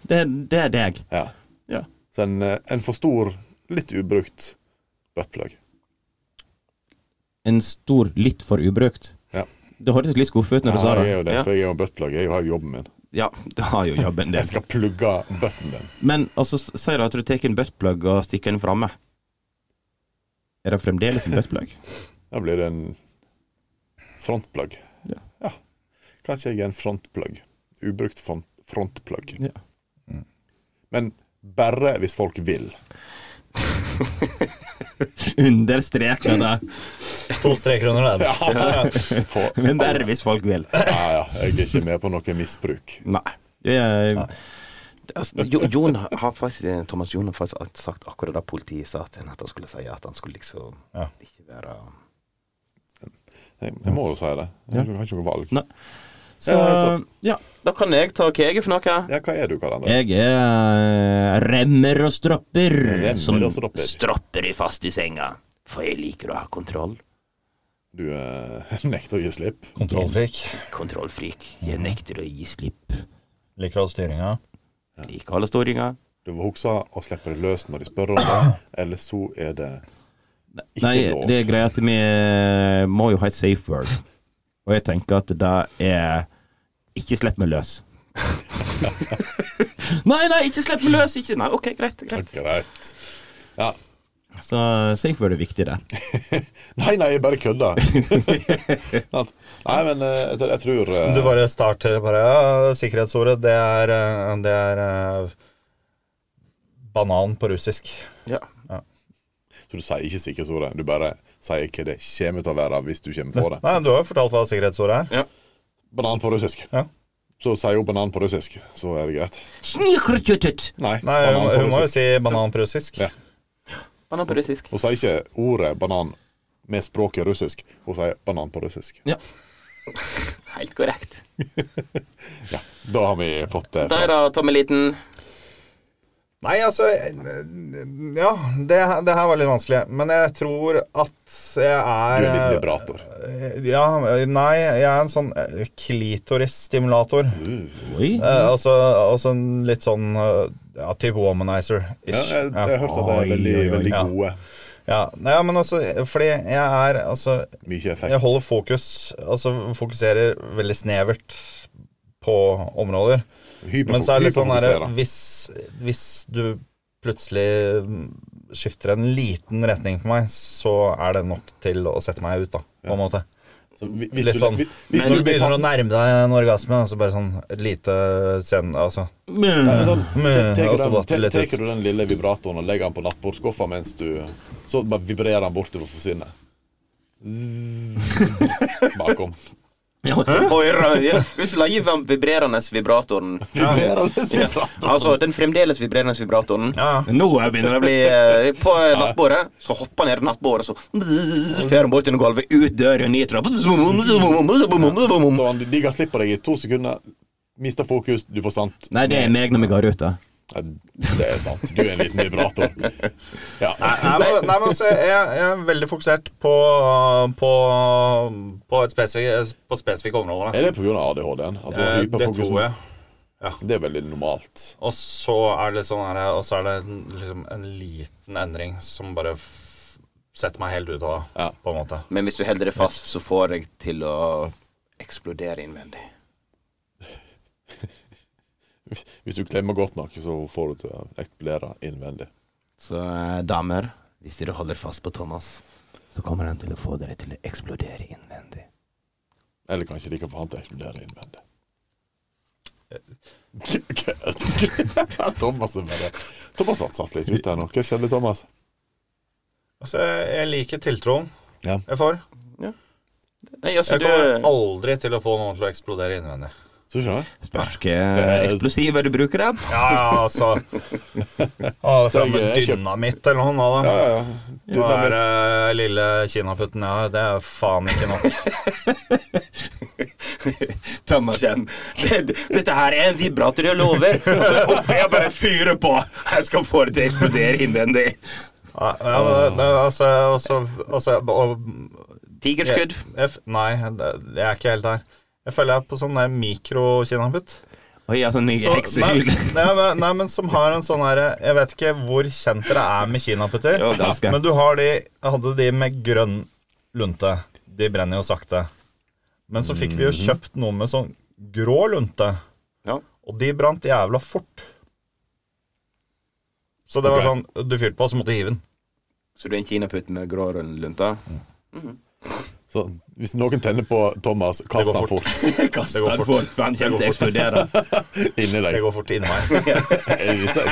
S3: Det, det er deg.
S4: Ja.
S3: Ja.
S4: Så en, eh, en for stor, litt ubrukt buttplug.
S3: En stor litt for ubrukt.
S4: Ja.
S3: Det hørtes litt skuffet ut når du sa
S4: Ja, jeg
S3: det.
S4: er jo det,
S6: Ja.
S4: for jeg er jo en buttplug. Jeg har jo jobben min.
S3: Ja, du har jo jobben
S4: Jeg skal plugge butten din.
S3: Men altså, s- sier du at du tar en buttplug og stikker den framme. Er det fremdeles en buttplug?
S6: (laughs)
S4: Da blir det en frontplug.
S3: Ja.
S4: ja. Kanskje jeg er en frontplug. Ubrukt front, frontplug. Mm.
S3: Ja.
S4: Men bare hvis folk
S3: (laughs)
S4: vil.
S3: Understreker det.
S5: To streker under den.
S4: For,
S3: Men bare hvis folk vil.
S4: ja, ja, jeg er ikke med på noe misbruk.
S3: Nei. Det er,
S6: Altså, Jo- Jon har faktisk, eh, Thomas Jon har faktisk alt sagt akkurat det politiet sa til henne at han skulle si, at han skulle liksom
S5: Ja.
S6: ikke være
S4: Jeg, jeg må jo si det. Jeg har ikke noe valg.
S3: Nei. så,
S4: altså.
S3: ja.
S6: Da kan jeg ta hva jeg er for noe.
S4: Ja, hva er du, Karl André?
S3: Jeg
S6: eh,
S3: er remmer og stropper.
S4: Remmer
S3: som
S4: og stropper.
S6: Stropper de fast i senga, for jeg liker å ha kontroll.
S4: Du eh, (laughs) nekter å gi slipp.
S5: Kontrollfrik.
S6: Kontrollfrik. Jeg nekter å gi slipp.
S5: Liker all styringa.
S6: Liker alle storinga.
S4: Du må huske å slippe det løs når de spør om det, eller så er det ikke
S3: Nei,
S4: lov.
S3: det er greia at vi eh, må jo ha et safe word. Og jeg tenker at det er Ikke slipp meg løs.
S6: (laughs) Nei, nei, ikke slipp meg løs! Ikke. Nei, OK, greit. greit.
S4: Greit. Ja.
S3: Så eh, safe word er viktig der.
S4: Nei, nei, jeg bare kødder. (laughs) Sant? nei, men eh, jeg, jeg tror eh,
S5: Du bare starter bare ja, Sikkerhetsordet, det er, eh, det er eh, banan på russisk.
S6: Ja.
S4: Så du sier ikke sikkerhetsordet. Du bare sier hva det kommer til å være hvis du kommer på det.
S5: Nei, du har jo fortalt hva sikkerhetsordet er.
S4: Banan på russisk.
S5: Ja.
S4: Så sier hun banan på russisk, så er det greit.
S12: Snikrututut.
S4: Nei,
S5: Nei, hun,
S4: banan på
S5: hun må jo
S4: russisk.
S5: si banan på russisk.
S4: Ja.
S6: Banan på russisk.
S4: Hun sier ikke ordet banan med språket russisk. Hun sier banan på russisk.
S6: Helt korrekt.
S4: Da har vi fått eh, det.
S6: Der da, Tommeliten.
S5: Nei, altså Ja, det, det her var litt vanskelig. Men jeg tror at
S4: Du
S5: jeg
S4: er
S5: er eh,
S4: litt vibrator.
S5: Ja, nei, jeg er en sånn eh, klitorisstimulator.
S4: Mm.
S3: Oi.
S5: Eh, altså, altså en litt sånn eh, ja, type
S4: Ja,
S5: womanizer-ish.
S4: jeg, jeg har hørt at de er veldig,
S3: Oi, oi, oi.
S4: veldig
S5: Ja.
S4: gode.
S5: Ja, nei, men altså, fordi jeg er Altså,
S4: Mye effekt.
S5: jeg holder fokus Altså fokuserer veldig snevert på områder.
S4: Hyperfo-
S5: Men så er det litt sånn der,
S4: hyperfokuserer.
S5: hvis, hvis du plutselig mm, skifter en liten retning på meg, så er det nok til å sette meg ut, da. På en måte.
S4: Så hvis- hvis
S5: Litt
S4: du-
S5: sånn.
S4: hvis- hvis
S5: Når
S4: du
S5: du
S4: blir
S5: begynner
S4: tatt-
S5: å nærme deg en orgasme, så bare sånn et lite scene, altså.
S4: Ja, men sånn,
S5: Men,
S4: te-
S5: altså, da,
S4: Teker
S5: til
S4: du den-
S5: litt
S4: te-
S5: ut.
S4: teker du den lille vibratoren og legger den på nattbordskuffa mens du Så bare vibrerer den bortover for
S5: (laughs)
S4: forsvinner. Zzz, Bakom.
S6: Oi, røy, ja. Hvis du legger den vibrerende (laughs) vibratoren
S4: Vibrerer den vibrator.
S6: Altså, den fremdeles vibrerende vibratoren
S5: Ja, ja.
S6: Nå er jeg begynner å bli eh, På eh, nattbordet, så hopper han ned i nattbordet, så Så fer han bort under gulvet, ut døren, ned trappa
S4: Så han digger slipp på deg i to sekunder, mister fokus, du får sant.
S3: Nei, det er meg når vi går ut, da.
S4: Ja, det er sant. Du er en liten vibrator. Ja.
S5: Nei, men, nei, men altså, jeg, jeg er veldig fokusert på, på, på et spesifikt, på spesifikke områder. da.
S4: Er det pga. ADHD-en? At du har
S5: Eh, Det
S4: hyperfokus?
S5: tror jeg.
S4: Det er veldig normalt.
S5: Og så er det litt sånn her, og så er det en- liksom en liten endring som bare f setter meg helt ut av det,
S4: Ja.
S5: på en måte.
S6: Men hvis du holder det fast, så får jeg til å eksplodere innvendig.
S4: Hvis du klemmer godt nok, så får du til å eksplodere innvendig.
S6: Så eh, damer, hvis dere holder fast på Thomas, så kommer han til å få dere til å eksplodere innvendig.
S4: Eller kanskje de kan få han til å eksplodere (laughs) innvendig. Thomas er bare Thomas har satt litt ut her nå. Hva skjedde, Thomas?
S5: Altså, jeg jeg liker tiltroen
S4: Ja.
S5: jeg får.
S6: Nei, altså,
S5: Jeg
S6: du
S5: kommer aldri til å få noen til å eksplodere innvendig.
S4: Så skjønner jeg.
S6: Spørs hva eksplosiver du bruker, da.
S5: Ja, ja,
S4: (laughs)
S5: altså. Å, Fram med
S4: Jeg- jeg kjøp-
S5: dynamitt eller noe sånt. da.
S4: Ja, ja. Du,
S5: Hva
S4: nei,
S5: er
S4: men,
S5: eh, lille kinaputten jeg har? Det er faen ikke nok.
S6: (laughs) Thomas igjen. Det, dette her er en vibrator, jeg (laughs) lover. Så håper jeg bare fyrer på. Jeg skal få det til å eksplodere innvendig.
S5: Ja, ja, men det, det, altså, altså, altså og,
S6: Tigerskudd.
S5: Jeg, f- nei, det, jeg er ikke helt der. Jeg føler jeg er på sånn der mikrokinaputt.
S6: Oi, altså, ny
S5: Så- Nei,
S6: heksehjul.
S5: nei, men- nei, men som har en sånn herre Jeg vet ikke hvor kjent dere er med kinaputter,
S6: Ja, da skal jeg.
S5: men du har de Jeg hadde de med grønn lunte. De brenner jo sakte. Men så fikk vi jo kjøpt noe med sånn grå lunte,
S6: Mhm. Ja.
S5: og de brant jævla fort. Så det var sånn Du fyrte på, og så måtte du hive den.
S6: Så du er en kinaputt med grå lunte?
S4: så, hvis noen tenner på Thomas, kast
S5: går
S4: han fort (laughs)
S6: Kast den fort, for han kommer til å eksplodere. (laughs)
S4: inni deg.
S5: Det går fort inni meg.
S4: Inni seg.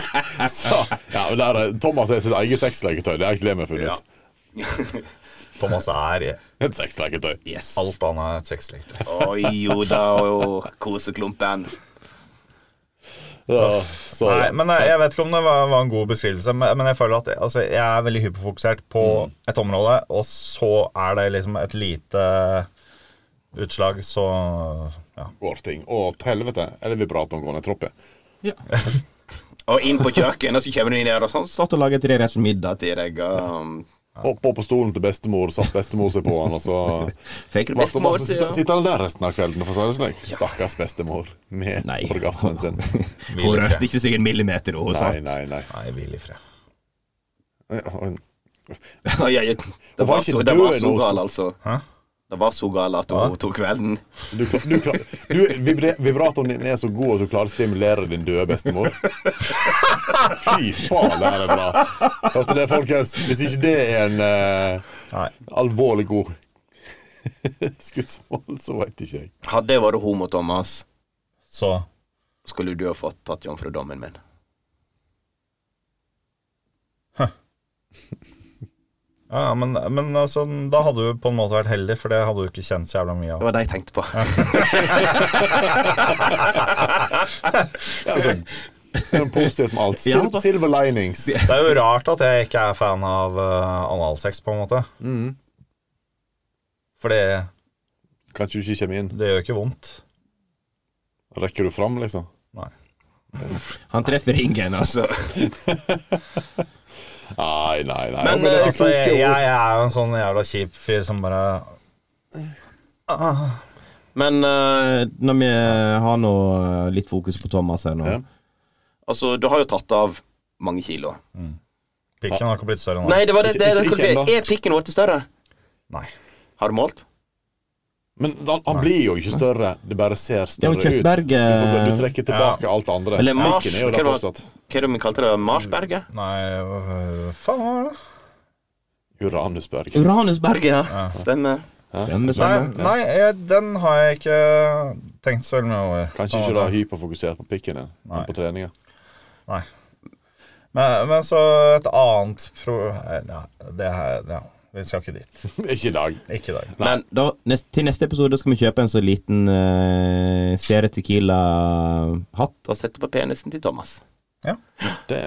S4: Så, ja, men der, er- Thomas er sitt eget sexleketøy. Det har ikke det vi har funnet ut.
S5: Thomas er
S4: Et sexleketøy.
S6: Yes.
S5: alt annet enn sexleketøy.
S6: Oi, jo da, og koseklumpen.
S4: Ja, så,
S5: Nei, men eh, jeg, jeg vet ikke om det var, var en god beskrivelse, men, men jeg føler at altså, jeg er veldig hyperfokusert på et område, og så er det liksom et lite utslag, så ja.
S4: går ting. Å, til helvete. Eller vibratoren går ned troppen.
S6: Og inn på kjøkkenet, og så kommer du inn der og sånn. Satt og laget tre retters middag til deg. og
S4: Opp opp på stolen til bestemor, satt bestemor seg på han, og så
S6: Fikk
S4: Vart
S6: bestemor
S4: bare
S6: til, ja.
S4: sitter, sitter han der resten av kvelden, for å si det slik. Stakkars bestemor med
S6: Nei.
S4: orgasmen
S5: (laughs)
S4: sin.
S6: Hun rørte ikke seg en millimeter, og
S4: Nei,
S6: hun satt.
S4: nei, nei.
S5: Nei, hvil i fred.
S4: Hun
S6: Oi, oi, oi. Det
S4: Hun var
S6: var
S4: ikke
S6: så, det
S4: død
S6: var så
S4: nå,
S6: gal, altså.
S5: Hæ?
S6: Det var så gal at hun tok kvelden.
S4: Du, kla- du, kla- du, vibre- vibratoren din er så god at du klarer å stimulere din døde
S5: (laughs)
S4: bestemor. Fy faen, det her er bra. Hørte det, folkens? Hvis ikke det er en eh,
S5: Nei.
S4: alvorlig god (laughs) skuddsmål, så veit ikke jeg.
S6: Hadde jeg vært homo, Thomas,
S5: Så
S6: skulle du ha fått tatt jomfrudommen min.
S5: ja, ja, men, men altså, da hadde du på en måte vært heldig, for det hadde du ikke kjent så jævla mye
S6: Det
S5: av.
S6: var det jeg tenkte på.
S4: Ja, altså, det er noe positivt med alt. Sil silver linings.
S5: Det er jo rart at jeg ikke er fan av eh, analsex, på en måte. For det,
S4: Kanskje du ikke kommer inn.
S5: det gjør ikke vondt.
S4: Rekker du fram, liksom?
S3: Han treffer ingen, altså.
S4: Nei, nei, nei.
S5: Men,
S4: Men, det er
S5: altså,
S4: kloke
S5: jeg,
S4: ord.
S5: jeg er jo en sånn jævla kjip fyr som bare
S3: Men eh, når vi har nå eh, litt fokus på Thomas her nå
S4: Ja.
S6: Altså, du har jo tatt av mange kilo.
S5: Pikken har ikke blitt større nå.
S6: Nei, det var det,
S4: Ikke-
S6: det, det,
S4: ikke-
S6: skulle
S4: ikke
S6: bli. Er pikken vår til større?
S5: Nei.
S6: Har du målt?
S4: Men han, han blir jo ikke større. Det bare ser
S3: Det er jo eh,
S4: større ut. Du,
S3: Kjøttberget.
S4: får, bare-
S5: eh,
S4: du trekker tilbake alt det andre.
S6: Eller Mars,
S4: Piken er jo
S6: hva
S4: der
S6: var-
S4: fortsatt.
S6: Hva er det vi kalte det? Marsberget?
S5: Nei, hva faen var det?
S4: Uranusberg.
S3: Uranusberget, ja.
S6: Stemmer.
S3: Den
S5: Nei,
S3: bestemmer.
S5: nei jeg, den har jeg ikke tenkt så veldig mye over.
S4: Kanskje ikke du har hyperfokusert på pikken din
S5: Nei.
S4: men på treninga.
S5: Men, men så et annet pro... Nei, det her Ja, vi skal ikke dit.
S4: (laughs) ikke i dag.
S5: Ikke i dag.
S6: Men
S3: Da, nest, til neste episode skal vi kjøpe en så liten uh, Sere Tequila-hatt.
S6: da setter jeg på penisen til Thomas.
S4: Det,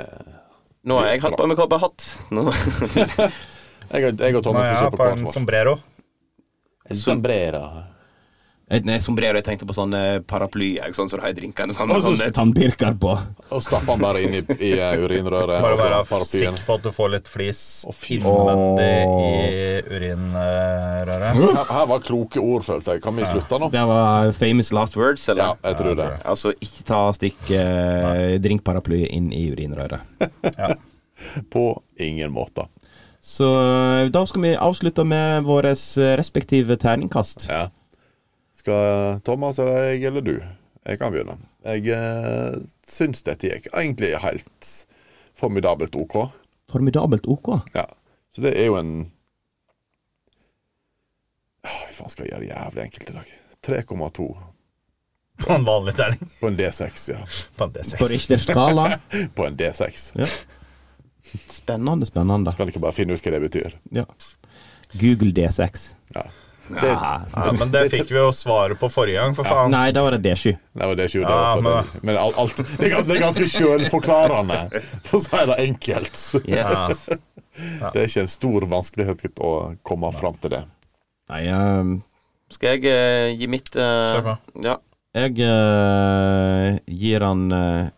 S6: Nå har jeg hatt på meg kobberhatt. Nå (laughs)
S4: jeg, og- jeg og
S5: Nå
S4: Thomas
S5: er
S4: skal
S5: jeg
S4: kjøpe
S5: på sånn-
S4: hvert
S5: en
S4: vårt.
S5: sombrero.
S4: En sombrera.
S6: Et nei, sombrero, jeg tenkte på sånne paraply, jeg, sånn som så du har i drinkene. Sånn,
S3: Og så
S6: sånn,
S3: tannpirker på.
S4: Og stapper han bare inn i, i eh, urinrøret.
S5: Bare
S4: og så
S5: være
S4: paraplyen.
S5: sikker på at du får litt flis
S4: Å, fy
S5: innvendig i urinrøret. (laughs)
S4: Her, her var kloke ord, følte jeg. Kan vi slutte nå?
S3: Det var famous last
S6: last words, eller?
S4: Ja, jeg tror det.
S6: Altså, ikke
S3: Ta stikk eh, drinkparaply inn i
S4: (laughs)
S3: urinrøret.
S4: På ingen måte.
S3: Så eh, da skal vi avslutte med våre respektive terningkast.
S4: Ja. Skal Thomas eller jeg eller du? Jeg kan begynne. Jeg eh, syns dette gikk egentlig helt formidabelt OK.
S3: Formidabelt OK.
S4: Ja. Så det er jo en Åh, Hva faen skal jeg gjøre det jævlig enkelt i dag? 3,2
S5: På en vanlig terning.
S4: på en D6, ja.
S5: På en D6.
S3: På Richter-skala.
S4: (laughs) På en D6.
S3: Spennende, spennende.
S4: Kan ikke bare finne ut hva det betyr.
S3: Ja. Google D6.
S4: Ja. Det,
S5: Ja, men det fikk vi jo svaret på forrige gang, for faen.
S3: Nei, da var det D7.
S4: nei, det er ikke jo det.
S5: Ja,
S4: åtte,
S5: men-
S4: det- Men alt, alt, det er gans- det er ganske sjølforklarende, for å si det enkelt.
S3: Yes.
S4: Det er ikke en stor vanskelighet å komme fram til det.
S3: Nei, ehm,
S6: Skal jeg eh, gi mitt eh,
S5: Kjør på.
S6: Ja.
S3: jeg eh, gir han eh,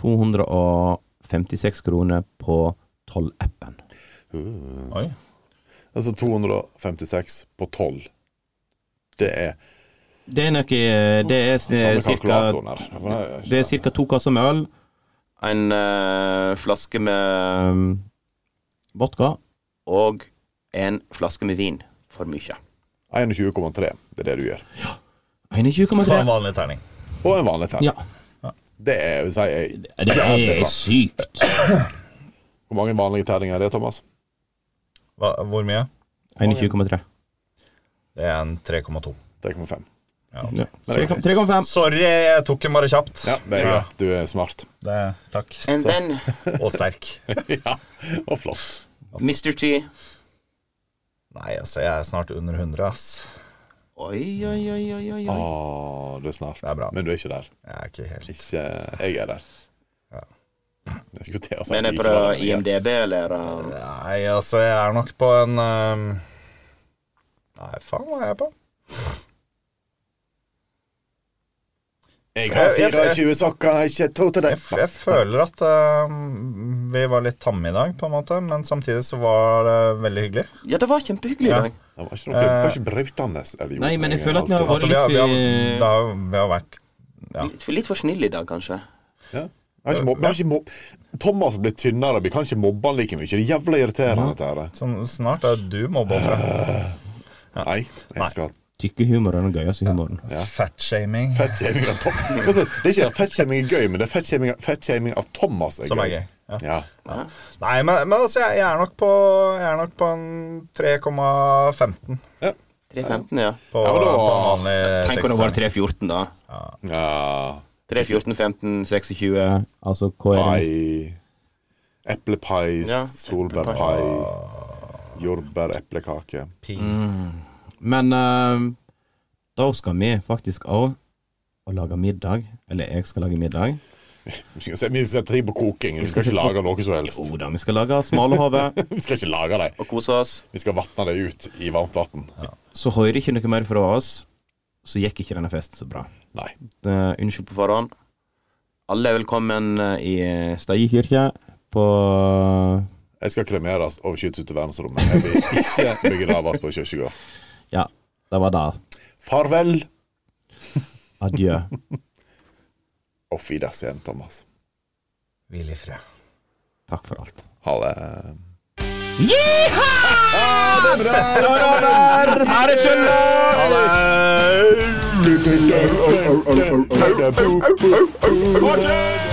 S3: 256 kroner på 12-appen.
S5: Oi.
S4: Altså 256 på 12. Det er
S3: Det er noe Det er
S4: samme
S3: ca.
S4: kalkulatoren her.
S3: Det er cirka to kasser med øl,
S6: En eh, flaske med
S3: ehm, vodka
S6: Og en flaske med vin. For mye.
S4: 21,3. Det er det du gjør.
S3: 21,3.
S5: På en vanlig terning.
S4: Og en vanlig tern.
S3: Ja.
S4: Det er vil si, jeg-
S13: Det
S4: jævlig
S13: er
S4: bra.
S13: sykt.
S4: Hvor mange vanlige terninger er det, Thomas?
S5: Hva, hvor mye?
S3: 21,3.
S5: Det er en 3,2.
S4: 3,5.
S3: Ja. 3,5.
S5: Sorry, jeg tok den bare kjapt.
S4: Ja, det er greit. Du er smart.
S5: det, takk.
S6: And then,
S5: Og sterk.
S4: ja, og flott.
S6: Mr. T.
S5: Nei, altså, jeg er snart under 100, ass.
S6: Oi, oi, oi, oi, oi. oi.
S4: Å, du Ah, er smart.
S5: Det er bra.
S4: Men du er ikke der.
S5: Jeg er ikke helt
S4: Ikke Jeg er der.
S5: Ja.
S4: (laughs) Jeg skulle til å si
S6: Men
S4: at
S6: er
S4: jeg
S6: på
S4: ikke var der,
S6: det
S4: men jeg-
S6: IMDb, eller? eh,
S5: Nei, altså, jeg er nok på en ehm, Nei, faen, hva er jeg på?
S4: Jeg har
S5: Jeg- jeg-
S4: 24 sokker, ikke to til
S5: Jeg,
S4: deg.
S5: f jeg føler at ehm, vi var litt tamme i dag, på en måte, men samtidig så var det veldig hyggelig.
S6: Ja, det var kjempehyggelig i
S5: Ja.
S6: dag.
S4: Det var ikke noe det var ikke brautende. eller jo,
S3: Nei, men jeg føler at vi har
S4: alltid-
S3: vært
S5: Altså, vi har,
S3: litt
S5: vi har,
S3: for-
S5: det har, jo- vi har vært Ja.
S6: Litt, for, litt for snill i dag, kanskje.
S4: Ja. Jeg har ikke mobb- jeg har ikke mobb- Thomas har blitt tynnere, vi kan ikke mobbe han like mye. Det er jævla irriterende, dette her.
S5: sånn, Snart er du mobbeoffer.
S4: Nei, jeg skal
S3: Tykkehumor er den gøyeste humoren.
S4: Ja.
S5: Fatshaming,
S4: Fettshaming av (laughs) Thomas Altså, Det er ikke at fettshaming er gøy, men det er fettshaming fettshaming av Thomas er
S5: som er
S4: gøy.
S5: gøy. Ja.
S4: Ja.
S5: Nei, men, men altså, jeg, jeg, er nok på, jeg er nok på en 3,15
S6: 3.15, ja.
S5: på, eh,
S4: Ja, men da-
S5: på en vanlig
S6: Tenk om det var 3.14, da.
S4: ja.
S6: 3.14, 15, 26
S3: Altså, hva er det
S4: Pai Eplepai,
S6: Ja,
S4: solbærpai, jordbæreplekake.
S3: Men eh, da skal vi faktisk òg og lage middag. Eller jeg skal lage middag.
S4: Vi skal se- vi skal sette ting på koking. Vi skal ikke lage noe som helst.
S3: Jo da, vi skal lage smalahove.
S4: (laughs) Vi skal ikke lage dem.
S6: og kose oss.
S4: Vi skal vatne dem ut i varmt vann.
S3: Så hører ikke noe mer fra oss, så gikk ikke denne festen så bra.
S4: Nei.
S3: Eh, unnskyld
S6: på forhånd. Alle er velkommen eh, i
S3: Steie kirke på
S4: Jeg skal kremeres og skytes ut i verdensrommet. Jeg vil ikke begraves på kirkegård.
S3: Ja, det var det.
S4: Farvel
S3: Adjø.
S4: og fidersen, Thomas.
S5: Hvil i fred.
S3: Takk for alt.
S4: Ha det.
S14: Au, au, au, au, au, au.
S4: Fortsett!